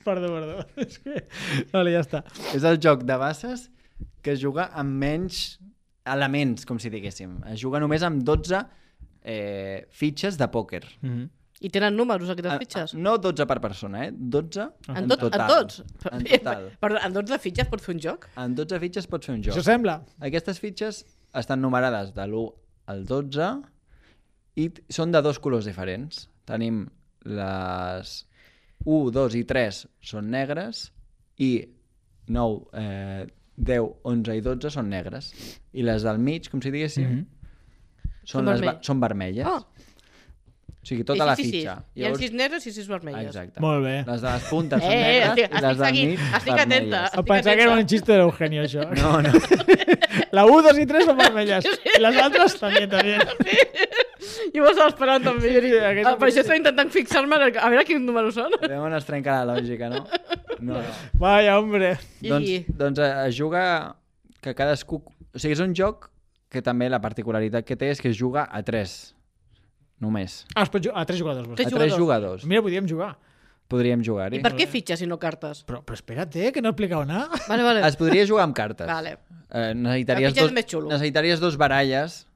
Perdó, perdó. [LAUGHS] És que... Vale, ja està.
és el joc de bases que es juga amb menys elements, com si diguéssim. Es juga només amb 12 eh, fitxes de pòquer.
Mm -hmm.
I tenen números, aquestes fitxes.
Ah, No 12 per persona, eh? 12
En, tot, en tots?
En total.
[LAUGHS] Perdó, en 12 fitxes pots fer un joc?
En 12 fitxes pots fer un joc.
Això sembla.
Aquestes fitxes estan numerades de l'1 al 12 i t- són de dos colors diferents. Tenim les 1, 2 i 3 són negres i 9, eh, 10, 11 i 12 són negres. I les del mig, com si diguéssim, mm
Mhm.
-hmm.
Són
són, les
vermell.
ver són vermelles.
Ah.
O sigui, tota la fitxa.
Hi ha 6 negres i 6 vermelles.
Exacte.
Molt bé.
Les de les puntes són
Eh, eh,
negres
estic,
i les
estic
del
seguint,
mig
estic
vermelles.
atenta.
Em
Estic
pensava que era un
atenta.
xiste d'Eugenio, això.
No, no.
[LAUGHS] La 1, 2 i 3 són
[LAUGHS]
vermelles. I les altres també, també.
Jo m'ho estava esperant també. Sí,
aquest
ah, per
és-
això estava intentant fixar-me en el... a veure quins números són.
Veiem on es trenca la lògica, no? No, no.
Vaya, hombre.
I-
Doncs, doncs eh, es juga que cadascú... O sigui, és un joc que també la particularitat que té és que es juga a 3, només.
Ah, es pot jugar a tres jugadors. vols dir?
Tres
a 3 jugadors.
Mira, podíem jugar.
Podríem
I
jugar-hi.
per què fitxes si no cartes?
Però, però espera't, eh, que no he explicat nada.
Vale, vale.
Es podria jugar amb cartes.
Vale.
Eh, necessitaries,
La fitxa és
dos,
més xulo.
necessitaries dos baralles.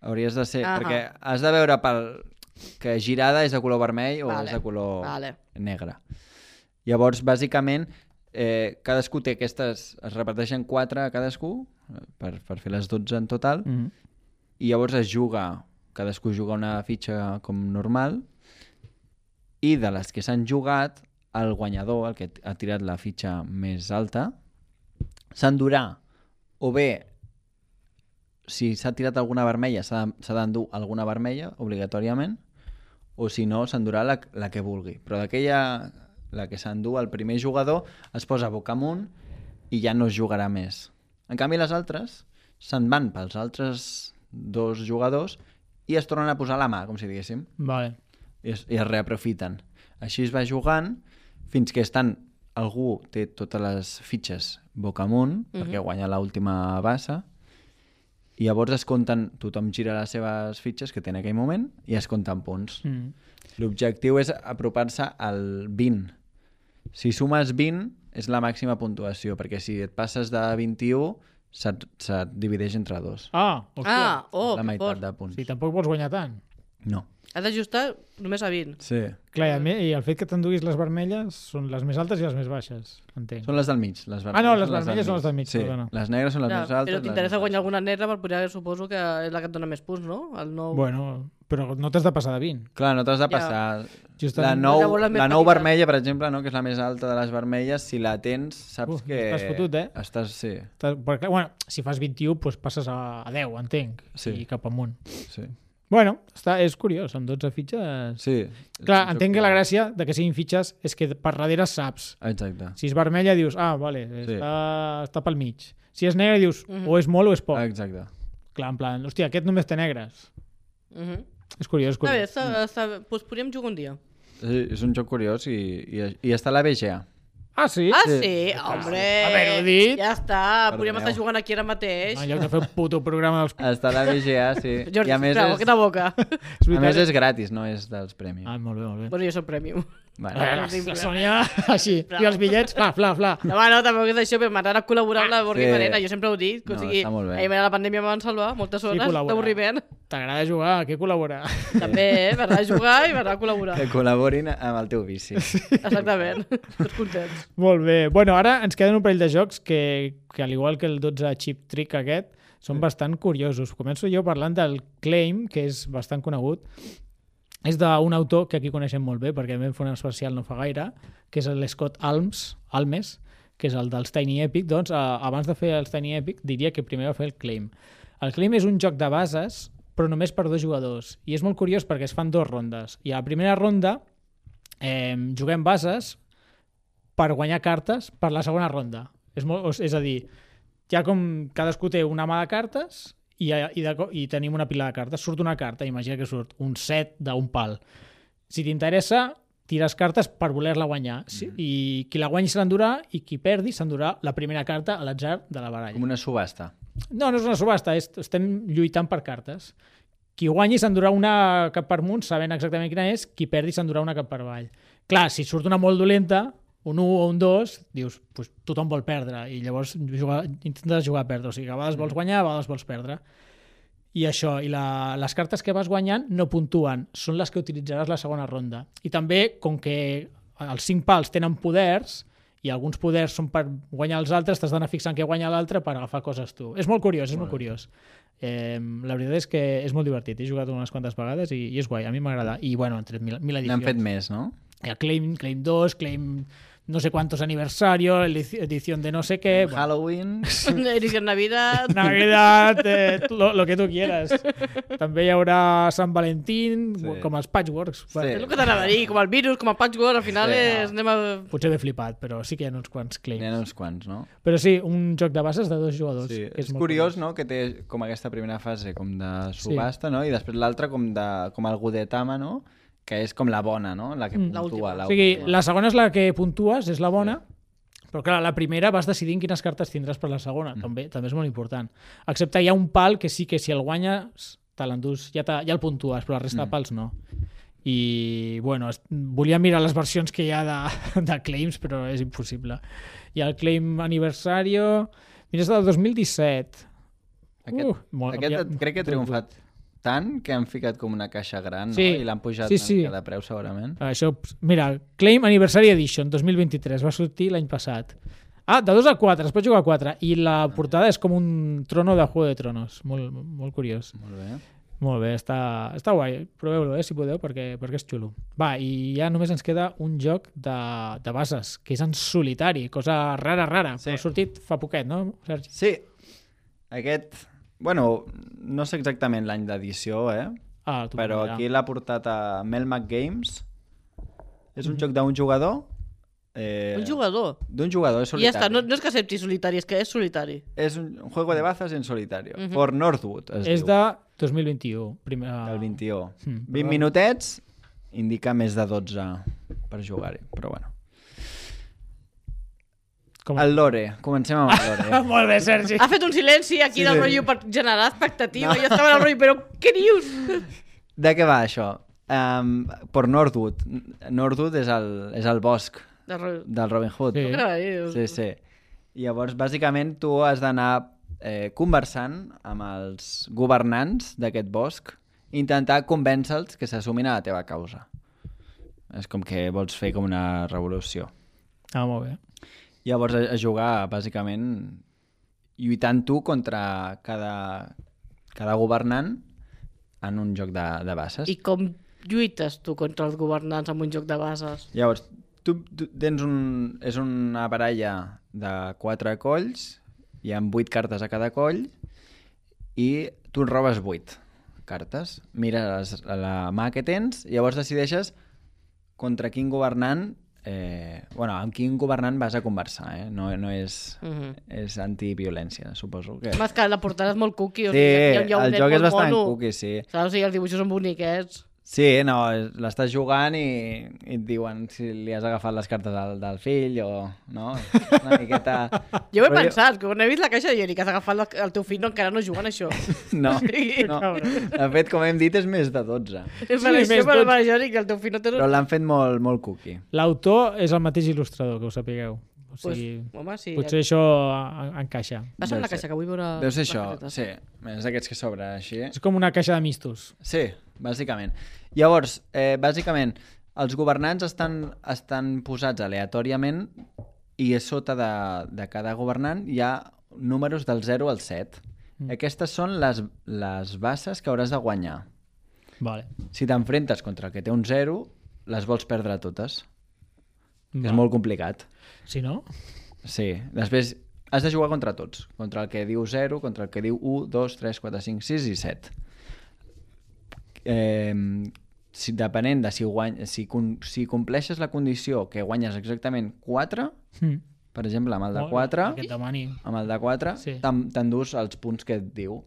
Hauries de ser...
Ahà.
Perquè has de veure pel que girada és de color vermell o
Vale,
és de color
vale.
negre. Llavors, bàsicament, eh, cadascú té aquestes... Es reparteixen 4 a cadascú eh, per, per fer les 12 en total. Mm.
Mm.
i llavors es juga, cadascú juga una fitxa com normal i de les que s'han jugat el guanyador, el que ha tirat la fitxa més alta s'endurà o bé si s'ha tirat alguna vermella s'ha de- s'ha d'endur alguna vermella obligatòriament o si no s'endurà la, la que vulgui però d'aquella la que s'endú el primer jugador es posa boca amunt i ja no es jugarà més en canvi les altres se'n van pels altres dos jugadors i es tornen a posar la mà com si diguéssim
Vale.
i es, i es reaprofiten. Així es va jugant fins que estan algú té
Mhm.
totes les fitxes boca amunt, perquè guanya l'última bassa, I llavors es compten, tothom gira les seves fitxes que té en aquell moment i es compten punts.
Mm.
L'objectiu és apropar-se al 20. Si sumes 20, és la màxima puntuació, perquè si et passes de 21, se't, se't divideix entre dos.
Ah, hòstia.
Ah, oh,
la
que
meitat
fort.
de punts.
Sí, tampoc vols guanyar tant.
No.
Has d'ajustar només a 20.
Sí.
Clar, i, a mi, i el fet que t'enduguis les vermelles són les més altes i les més baixes, entenc.
Són les del mig. Les
Ah, no, les vermelles són les del mig,
Sí.
perdona.
Les negres són les
Clar,
més altes.
però
les
t'interessa
més
guanyar
baixes.
alguna negra per poder, suposo que és la que et dona més punts, no? El nou...
Bueno, però no t'has de passar de 20.
Clar, no t'has de passar.
Justament.
La
La nou,
bola més
la nou
petita.
vermella, per exemple, no, que és la més alta de les vermelles, si la tens, saps
Uf,
que...
estàs fotut, eh?
Estàs, sí,
T'has- Perquè, bueno, si fas 21, doncs passes a, a 10, entenc,
Sí.
i cap amunt.
sí.
Bueno, està, és curiós, amb 12 fitxes...
sí.
Clar, entenc que la gràcia de que siguin fitxes és que per darrere saps.
Exacte.
Si és vermella dius, ah, vale,
Sí.
està, està pel mig. Si és negra dius,
Mhm.
o és molt o és poc.
Exacte.
Clar, en plan, hòstia, aquest només té negres.
Uh -huh.
És curiós, és
Està bé,
curiós.
està, està bé. Pues podríem jugar un dia.
Sí, és un joc curiós i, i, i està a la BGA.
Ah, sí?
Ah, sí, hombre.
Haver-ho dit.
Ja està, podríem
Perdoneu.
estar jugant aquí ara mateix.
Ah, En lloc de fer un puto programa dels...
Està a la BGA, sí.
[LAUGHS] Jordi,
I a més,
sisplau,
és,
aquesta boca. [LAUGHS]
a més és gratis, no és dels premis.
Ah, molt bé, molt bé.
bueno, jo soc premium.
Vale.
Ah, la Sònia, [LAUGHS] així. I els bitllets, fla, fla, fla.
Demà no, tampoc és això, però m'agrada col·laborar amb l'avorriment,
Sí.
manera, jo sempre ho dic. que O
No,
sigui,
està molt bé.
ahir la pandèmia em van salvar moltes hores
col·laborar.
d'avorriment.
T'agrada jugar, què col·laborar?
També, eh? M'agrada jugar i m'agrada col·laborar.
Que col·laborin amb el teu
[LAUGHS]
vici.
Exactament. Tots contents.
Molt bé. Bueno, ara ens queden un parell de jocs que, que al igual que el 12 Chip Trick aquest, són bastant curiosos. Començo jo parlant del Claim, que és bastant conegut. És d'un autor que aquí coneixem molt bé, perquè vam fer un especial no fa gaire, que és l'Scott Alms, Almes, que és el dels Tiny Epic. Doncs, eh, abans de fer els Tiny Epic, diria que primer va fer el Claim. El Claim és un joc de bases, però només per dos jugadors. I és molt curiós perquè es fan dues rondes. I a la primera ronda eh, juguem bases, per guanyar cartes per la segona ronda. És, molt, o s- és a dir, ja com cadascú té una mà de cartes i, i, de, co- i tenim una pila de cartes, surt una carta, imagina que surt un set d'un pal. Si t'interessa, tires cartes per voler-la guanyar. Mm. I qui la guanyi se l'endurà i qui perdi s'endurà la primera carta a l'atzar de la baralla.
Com una subhasta.
No, no és una subhasta, és, estem lluitant per cartes. Qui guanyi s'endurà una cap per amunt, sabent exactament quina és, qui perdi s'endurà una cap per avall. Clar, si surt una molt dolenta, un 1 o un 2, dius, pues, tothom vol perdre, i llavors jugar, intentes jugar a perdre, o sigui, que a vegades vols guanyar, a vegades vols perdre. I això, i la, les cartes que vas guanyant no puntuen, són les que utilitzaràs la segona ronda. I també, com que els cinc pals tenen poders, i alguns poders són per guanyar els altres, t'has d'anar fixant què guanya l'altre per agafar coses tu. És molt curiós, és molt curiós. Eh, la veritat és que és molt divertit. He jugat unes quantes vegades i, i és guai, a mi m'agrada. I bueno, han tret mil, mil
N'han
edicions.
fet més, no?
El Claim, Claim 2, Claim no sé cuántos aniversario, edi- edición de no sé qué. Eh, bueno.
Halloween...
Edició Navidad.
Navidad, eh, lo, lo que tu quieras. També hi haurà Sant Valentín,
Sí.
com els patchworks.
És
Bueno,
el que t'anava a dir, com el virus, com el patchwork, al final
Sí,
és... Anem a...
Potser m'he flipat, però sí que hi ha uns quants claims.
N'hi ha uns quants, no?
Però sí, un joc de bases de dos jugadors.
Sí,
que
és,
és, molt
curiós, no?, que té com aquesta primera fase com de subhasta, no?, i després l'altra com, de, com el Gudetama, no?, que és com la bona, no?, la que puntua.
L'última.
Mm. O sigui, la segona és la que puntues, és la bona, però clar, la primera vas decidint quines cartes tindràs per la segona,
Mm.
també també és molt important. Excepte hi ha un pal que sí que si el guanyes te l'endús, ja, te, ja el puntues, però la resta
Mm.
de pals no. I, bueno, es, volia mirar les versions que hi ha de, [LAUGHS] de claims, però és impossible. Hi ha el claim aniversario... Mira, és del 2017.
Aquest,
Uh, molt-
aquest
ja-
crec que ha triomfat tant que han ficat com una caixa gran,
Sí.
no?, i l'han pujat
Sí,
una
sí.
mica de preu, segurament.
Això, mira, Claim Anniversary Edition 2023, va sortir l'any passat. Ah, de 2 a 4, es pot jugar a 4. I la portada és com un trono de Juego de Tronos. Molt, molt curiós.
Molt bé.
Molt bé, està, està guai. Proveu-lo, eh, si podeu, perquè, perquè és xulo. Va, i ja només ens queda un joc de, de bases, que és en solitari, cosa rara, rara.
Sí.
Sí. Ha sortit fa poquet, no, Sergi?
Sí, aquest... Bueno, no sé exactament l'any d'edició, eh?
Ah, tu
Però
mira.
aquí l'ha portat a Melmac Games. És
Mm-hmm.
un joc d'un jugador. Eh,
Un jugador.
D'un jugador,
I
és
ja
solitari.
està, no, no és que accepti solitari, és que és solitari.
És un un juego de bazas en solitario.
Mhm.
Por Northwood es
És
diu,
de 2021. Primer...
del 21.
Mm,
20 minutets, indica més de 12 per jugar-hi, però bueno.
ah, Com...
El Lore, comencem amb el Lore.
[LAUGHS] Molt bé, Sergi.
Ha fet un silenci aquí
Sí,
del
sí.
rotllo per generar expectativa. Jo estava en el rotllo, però què
[LAUGHS]
dius?
De què va això? Um, per Northwood. Northwood és el, és el bosc
Del rotllo.
del Robin Hood.
Sí.
Sí, sí. Llavors, bàsicament, tu has d'anar eh, conversant amb els governants d'aquest bosc, intentar convèncer-los que s'assumin a la teva causa. És com que vols fer com una revolució.
Ah, molt bé.
Llavors, a, a jugar, bàsicament, lluitant tu contra cada, cada governant en un joc de, de bases.
I com lluites tu contra els governants amb un joc de bases?
Llavors, tu, tu tens un... És una baralla de quatre colls, hi ha vuit cartes a cada coll, i tu en robes vuit cartes. Mires la, la mà que tens, i llavors decideixes contra quin governant... Eh, bueno, amb quin governant vas a conversar, eh? No, no és...
Mhm.
És antiviolència, suposo que...
Més que la portada és molt cuqui. O
Sí,
sigui, hi ha, hi ha un
el
nen
joc és
molt
bastant
mono.
cuqui, sí.
Saps? O sigui, els dibuixos són boniquets.
Sí, no, l'estàs jugant i, i et diuen si li has agafat les cartes del, del fill o... No? Una miqueta...
[LAUGHS] Jo ho he
Però
pensat, que quan he vist la caixa jo dic, has agafat el, el teu fill, no, encara no juguen a
[LAUGHS]
això.
No,
Sí,
no. De fet, com hem dit, és més de 12.
Sí, per això,
més
per,
tot.
per això dic, el teu fill no té...
Però l'han fet molt, molt cookie.
L'autor és el mateix il·lustrador, que ho sapigueu. O
pues,
sigui,
home, sí. eh.
potser això a- a- encaixa.
Passa'm la
Deu ser.
caixa, que vull veure...
Deu ser
les
això,
casetes.
sí. És d'aquests que s'obre així.
És com una caixa de mistos.
Sí, bàsicament. Llavors, eh, bàsicament, els governants estan, estan posats aleatòriament i a sota de, de cada governant hi ha números del 0 al 7. Mm. Aquestes són les, les bases que hauràs de guanyar.
Vale.
Si t'enfrentes contra el que té un 0, les vols perdre totes.
Va.
És molt complicat.
Si no,
Sí, després has de jugar contra tots. Contra el que diu 0, contra el que diu 1, 2, 3, 4, 5, 6 i 7. Eh, si, depenent de si, guany, si, con- si compleixes la condició que guanyes exactament 4,
Mm.
per exemple, amb el de
Molt bé,
4,
Que et demani.
amb el de 4
Sí.
sí. t'endús els punts que et diu.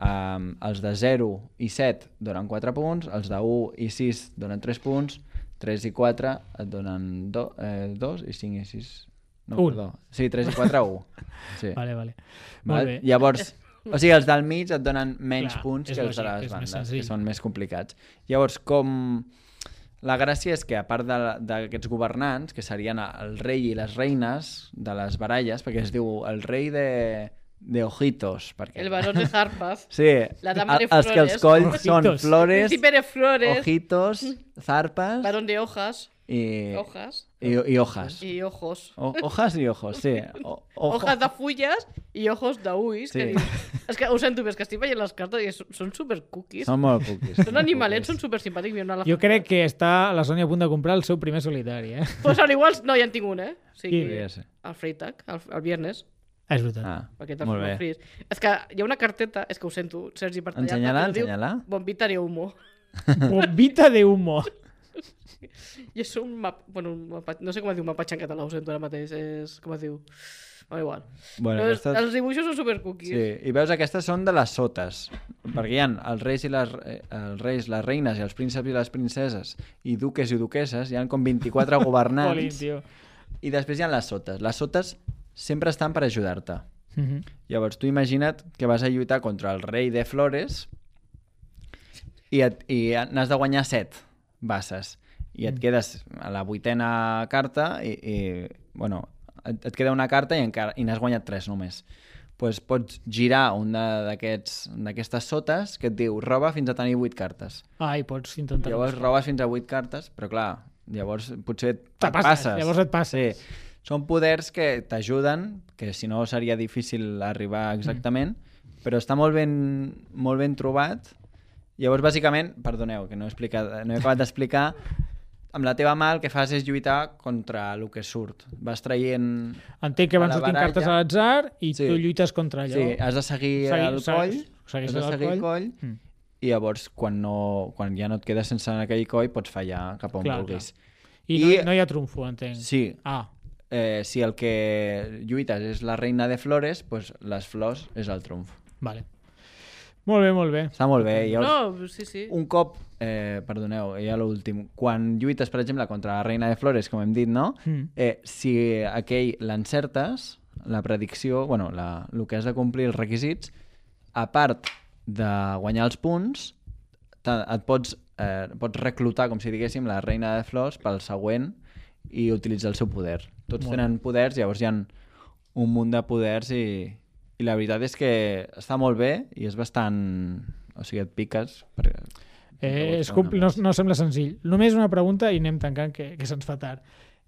Um, els de 0 i 7 donen 4 punts, els de 1 i 6 donen 3 punts, 3 i 4 et donen 2, eh, 2 i 5 i 6... No,
Un.
perdó. Sí, 3 i
[LAUGHS]
4, 1. Sí.
Vale, vale.
Val?
Molt bé. [LAUGHS]
Llavors, o sigui, els del mig et donen menys
Clar,
Clar, punts
és
que els de
lògic, és
les
més
bandes, que
senzill.
són més complicats. Llavors, com... La gràcia és que, a part de- d'aquests governants, que serien el rei i les reines de les baralles, perquè es diu el rei de, de ojitos, perquè...
El barón de Harpas.
Sí,
La dama de
el- els que els
flores.
colls són
Ojitos.
[LAUGHS] flores,
Príncipe de Flores,
ojitos, zarpes
barón de Hojas,
i,
hojas
i, i Eh, hojas.
i ojos.
O, hojas i ojos, sí. O, ojo-
Hojas de fulles i ojos d'ulls. Sí.
Sí.
És que ho sento, però és que estic veient les cartes i són- són super cookies.
Són molt cuquis.
Són animalets, són super simpàtics.
Jo crec que està la Sònia a punt de comprar el seu primer solitari, eh?
Però són iguals... No, ja en tinc un, eh? O sigui,
Quin?
Sí, ja sé.
el Freitag, el, el viernes.
Ah, és [LAUGHS] veritat.
Ah,
Perquè te'ls
molt
molt
bé.
fris. És que hi ha una carteta... És que ho sento, Sergi, per tallar-te,
Ensenya-la,
però diu
ensenya-la.
Bombita de humo.
Bombita de humo.
I és un mapa... Bueno, un mapa, no sé com es diu mapatge en català, ho sento ara mateix. És... Com es diu? Bueno, igual.
Bueno,
Però és-
aquestes...
Els dibuixos són supercookies.
Sí, i veus, aquestes són de les sotes, perquè hi ha els reis, i les, eh, els reis, les reines i els prínceps i les princeses i duques i duqueses, hi han com
[LAUGHS]
24
Polin,
governants,
tio.
i després hi ha les sotes. Les sotes sempre estan per ajudar-te.
Mhm.
Llavors, tu imagina't que vas a lluitar contra el rei de Flores i, et, i n'has de guanyar set bases. I
Mm.
et quedes a la vuitena carta i, i bueno, et, et queda una carta i, encara, i n'has guanyat tres només. Pues pots girar una d'aquests- d'aquestes sotes que et diu roba fins a tenir vuit cartes.
Ah, i pots intentar...
Llavors robes fins a 8 cartes, però clar, llavors potser et
Te
et
passes,
passes.
llavors et passes.
Sí. Són poders que t'ajuden, que si no seria difícil arribar exactament, mm. però està molt ben, molt ben trobat. Llavors, bàsicament, perdoneu, que no he, explicat, no he acabat d'explicar, amb la teva mà el que fas és lluitar contra el que surt. Vas traient...
Entenc que
a
van
la
sortint
baralla.
cartes a l'atzar i
Sí.
tu lluites contra allò.
Sí, has de seguir
Segui-
el
se-
coll,
segueixes
has de
el
seguir el
coll.
coll,
Mm.
i llavors quan, no, quan ja no et quedes sense aquell coll pots fallar cap a on
Clar,
vulguis.
I, no,
I-
no hi ha trumfo, entenc.
Sí,
Ah,
eh, si el que lluites és la reina de flores, pues les flors és el trumf.
vale. Molt bé, molt bé.
Està molt bé. I Llavors,
No, pues sí, sí.
un cop, eh, perdoneu, ja l'últim, quan lluites, per exemple, contra la reina de flores, com hem dit, no?
Mm.
Eh, si aquell l'encertes, la predicció, bueno, la, el que has de complir els requisits, a part de guanyar els punts, te- et pots, eh, pots reclutar, com si diguéssim, la reina de flors pel següent i utilitzar el seu poder. Tots
Molt bé.
tenen poders, llavors hi ha un munt de poders i, i la veritat és que està molt bé i és bastant... O sigui, et piques... Per...
Eh, és compl- no, no sembla senzill. Només una pregunta i anem tancant, que, que se'ns fa tard.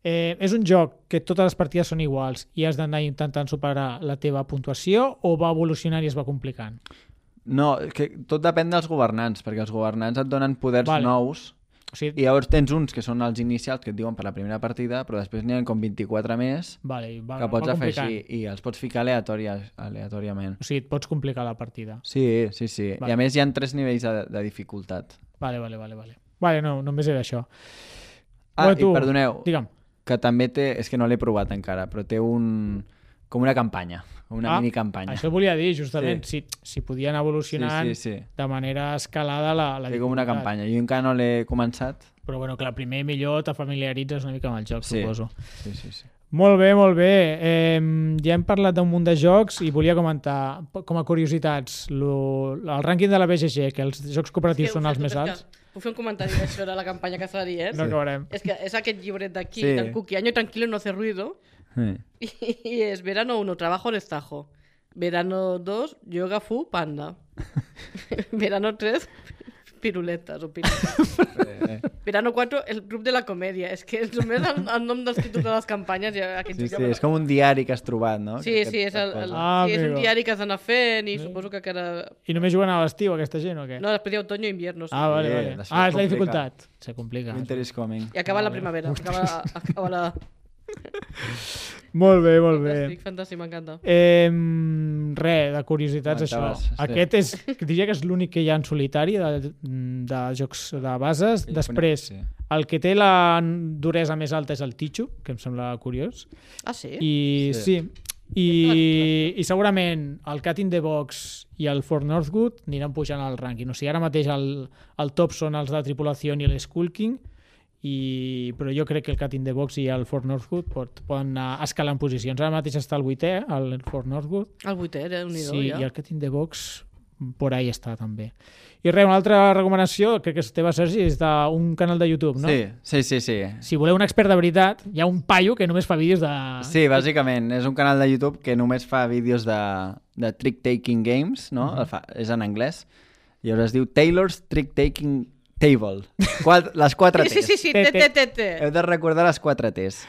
Eh, és un joc que totes les partides són iguals i has d'anar intentant superar la teva puntuació o va evolucionant i es va complicant?
No, és que tot depèn dels governants, perquè els governants et donen poders
Vale.
vale. nous
O sigui,
i llavors tens uns que són els inicials que et diuen per la primera partida, però després n'hi ha com 24 més
vale, va,
que pots
va
afegir
complicant.
i els pots ficar aleatòria, aleatòriament.
O sigui, et pots complicar la partida.
Sí, sí, sí.
Vale.
I a més hi ha tres nivells de, de dificultat.
Vale, vale, vale. Vale, vale no, només era això.
Ah,
Bueno, tu,
i perdoneu,
Digue'm.
que també té... És que no l'he provat encara, però té un... com una campanya, una
Ah,
mini campanya.
Això volia dir, justament, si, si podien evolucionar
Sí, sí, sí.
de manera escalada la, la
Té com una
dificultat.
campanya. Jo encara no l'he començat.
Però bueno, clar, primer millor te familiaritzes una mica amb el joc,
Sí.
suposo.
Sí, sí, sí.
Molt bé, molt bé. Eh, ja hem parlat d'un munt de jocs i volia comentar, p- com a curiositats, lo, el rànquing de la BGG, que els jocs cooperatius
Què,
són
ho
els
sento,
més
és que
alts,
Puc fer un comentari d'això de la campanya que faré, eh?
no acabarem.
És que és aquest llibret d'aquí,
Sí.
del cookie. Año tranquilo, no hace ruido. [LAUGHS]
sí.
Y, es verano 1, trabajo en estajo. Verano 2, yoga fu, panda. [LAUGHS] verano 3, piruletas o piruletas.
Eh, eh.
Verano 4, el club de la comèdia. És que [LAUGHS] només el, el nom dels títols de les campanyes ja aquest
Sí, sí, és com un diari que has trobat, no?
Sí,
Que- que-
sí, és, el, el,
Ah,
sí, és un
amigo.
diari que has d'anar fent i suposo que encara...
I només juguen a l'estiu, aquesta gent, o què?
No, després hi ha otoño i invierno. Sí.
Ah, vale,
Sí,
vale.
després
Ah, és la
complica.
dificultat. Se complica.
Winter is coming.
I acaba la primavera. Acaba, acaba la...
Molt bé, [LAUGHS] molt bé.
Fantàstic, fantàstic, m'encanta.
Eh, re, de curiositats, això.
Comentaves, sí.
Aquest és, diria que és l'únic que hi ha en solitari de, de jocs de bases.
Sí,
Després,
sí.
el que té la duresa més alta és el Tichu, que em sembla curiós.
Ah, sí?
I sí.
Sí.
sí. I, I segurament el Cat in the Box i el Fort Northwood aniran pujant al rànquing. O sigui, ara mateix el, el top són els de tripulació i l'Skull King, i, però jo crec que el Cat in the Box i el Fort Northwood pot, poden anar escalant posicions. Ara mateix està el vuitè, el Fort Northwood,
El vuitè, eh? Un
sí,
ja.
i el Cat in the Box por ahí està també. I res, una altra recomanació, crec que és teva, Sergi, és d'un canal de YouTube, no?
Sí, sí, sí, sí.
Si voleu un expert de veritat, hi ha un paio que només fa vídeos de...
Sí, bàsicament, és un canal de YouTube que només fa vídeos de, de trick-taking games, no?
Mhm.
El fa, és en anglès. I llavors es diu Taylor's Trick-Taking Table. Quat, les quatre
Sí,
T's.
sí, sí, sí,
Té,
té,
té.
té, té, té.
Heu de recordar les quatre T's.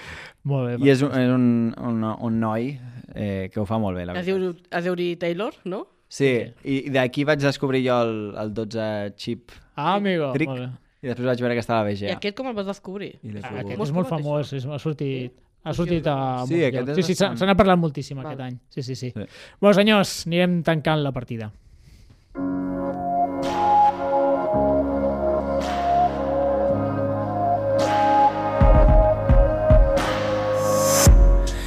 Molt bé,
I és un, és un, un, un noi eh, que ho fa molt bé, la
Es
veritat.
diu, es diu Taylor, no?
Sí, i d'aquí vaig descobrir jo el, el 12 chip
Ah, amigo.
trick
Molt bé.
i després vaig veure que estava a BGA.
Oh, I aquest com el vas descobrir?
I l'he
Ah,
pogut-
Aquest
Vols
és molt
provar
famós, és, ha sortit... Ha sortit a
Sí,
molts
aquest
llocs.
és
Sí, sí, se
bastant-
se n'ha parlat moltíssim
Val.
aquest any. Sí, sí, sí.
Sí.
Bé, senyors, anirem tancant la partida.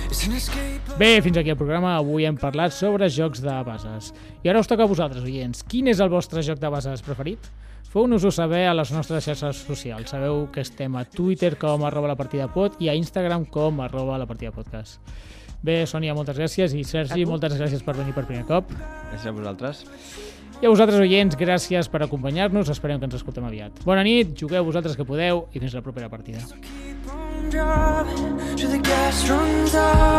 It's an escape.
Bé, fins aquí el programa. Avui hem parlat sobre jocs de bases. I ara us toca a vosaltres, oients. Quin és el vostre joc de bases preferit? Feu-nos-ho saber a les nostres xarxes socials. Sabeu que estem a Twitter com arroba la partida pot i a Instagram com arroba la partida podcast. Bé, Sònia, moltes gràcies i Sergi, moltes gràcies per venir per primer cop.
Gràcies a vosaltres.
I a vosaltres, oients, gràcies per acompanyar-nos. Esperem que ens escoltem aviat. Bona nit, jugueu vosaltres que podeu i fins la propera partida.
keep on driving till the gas runs out.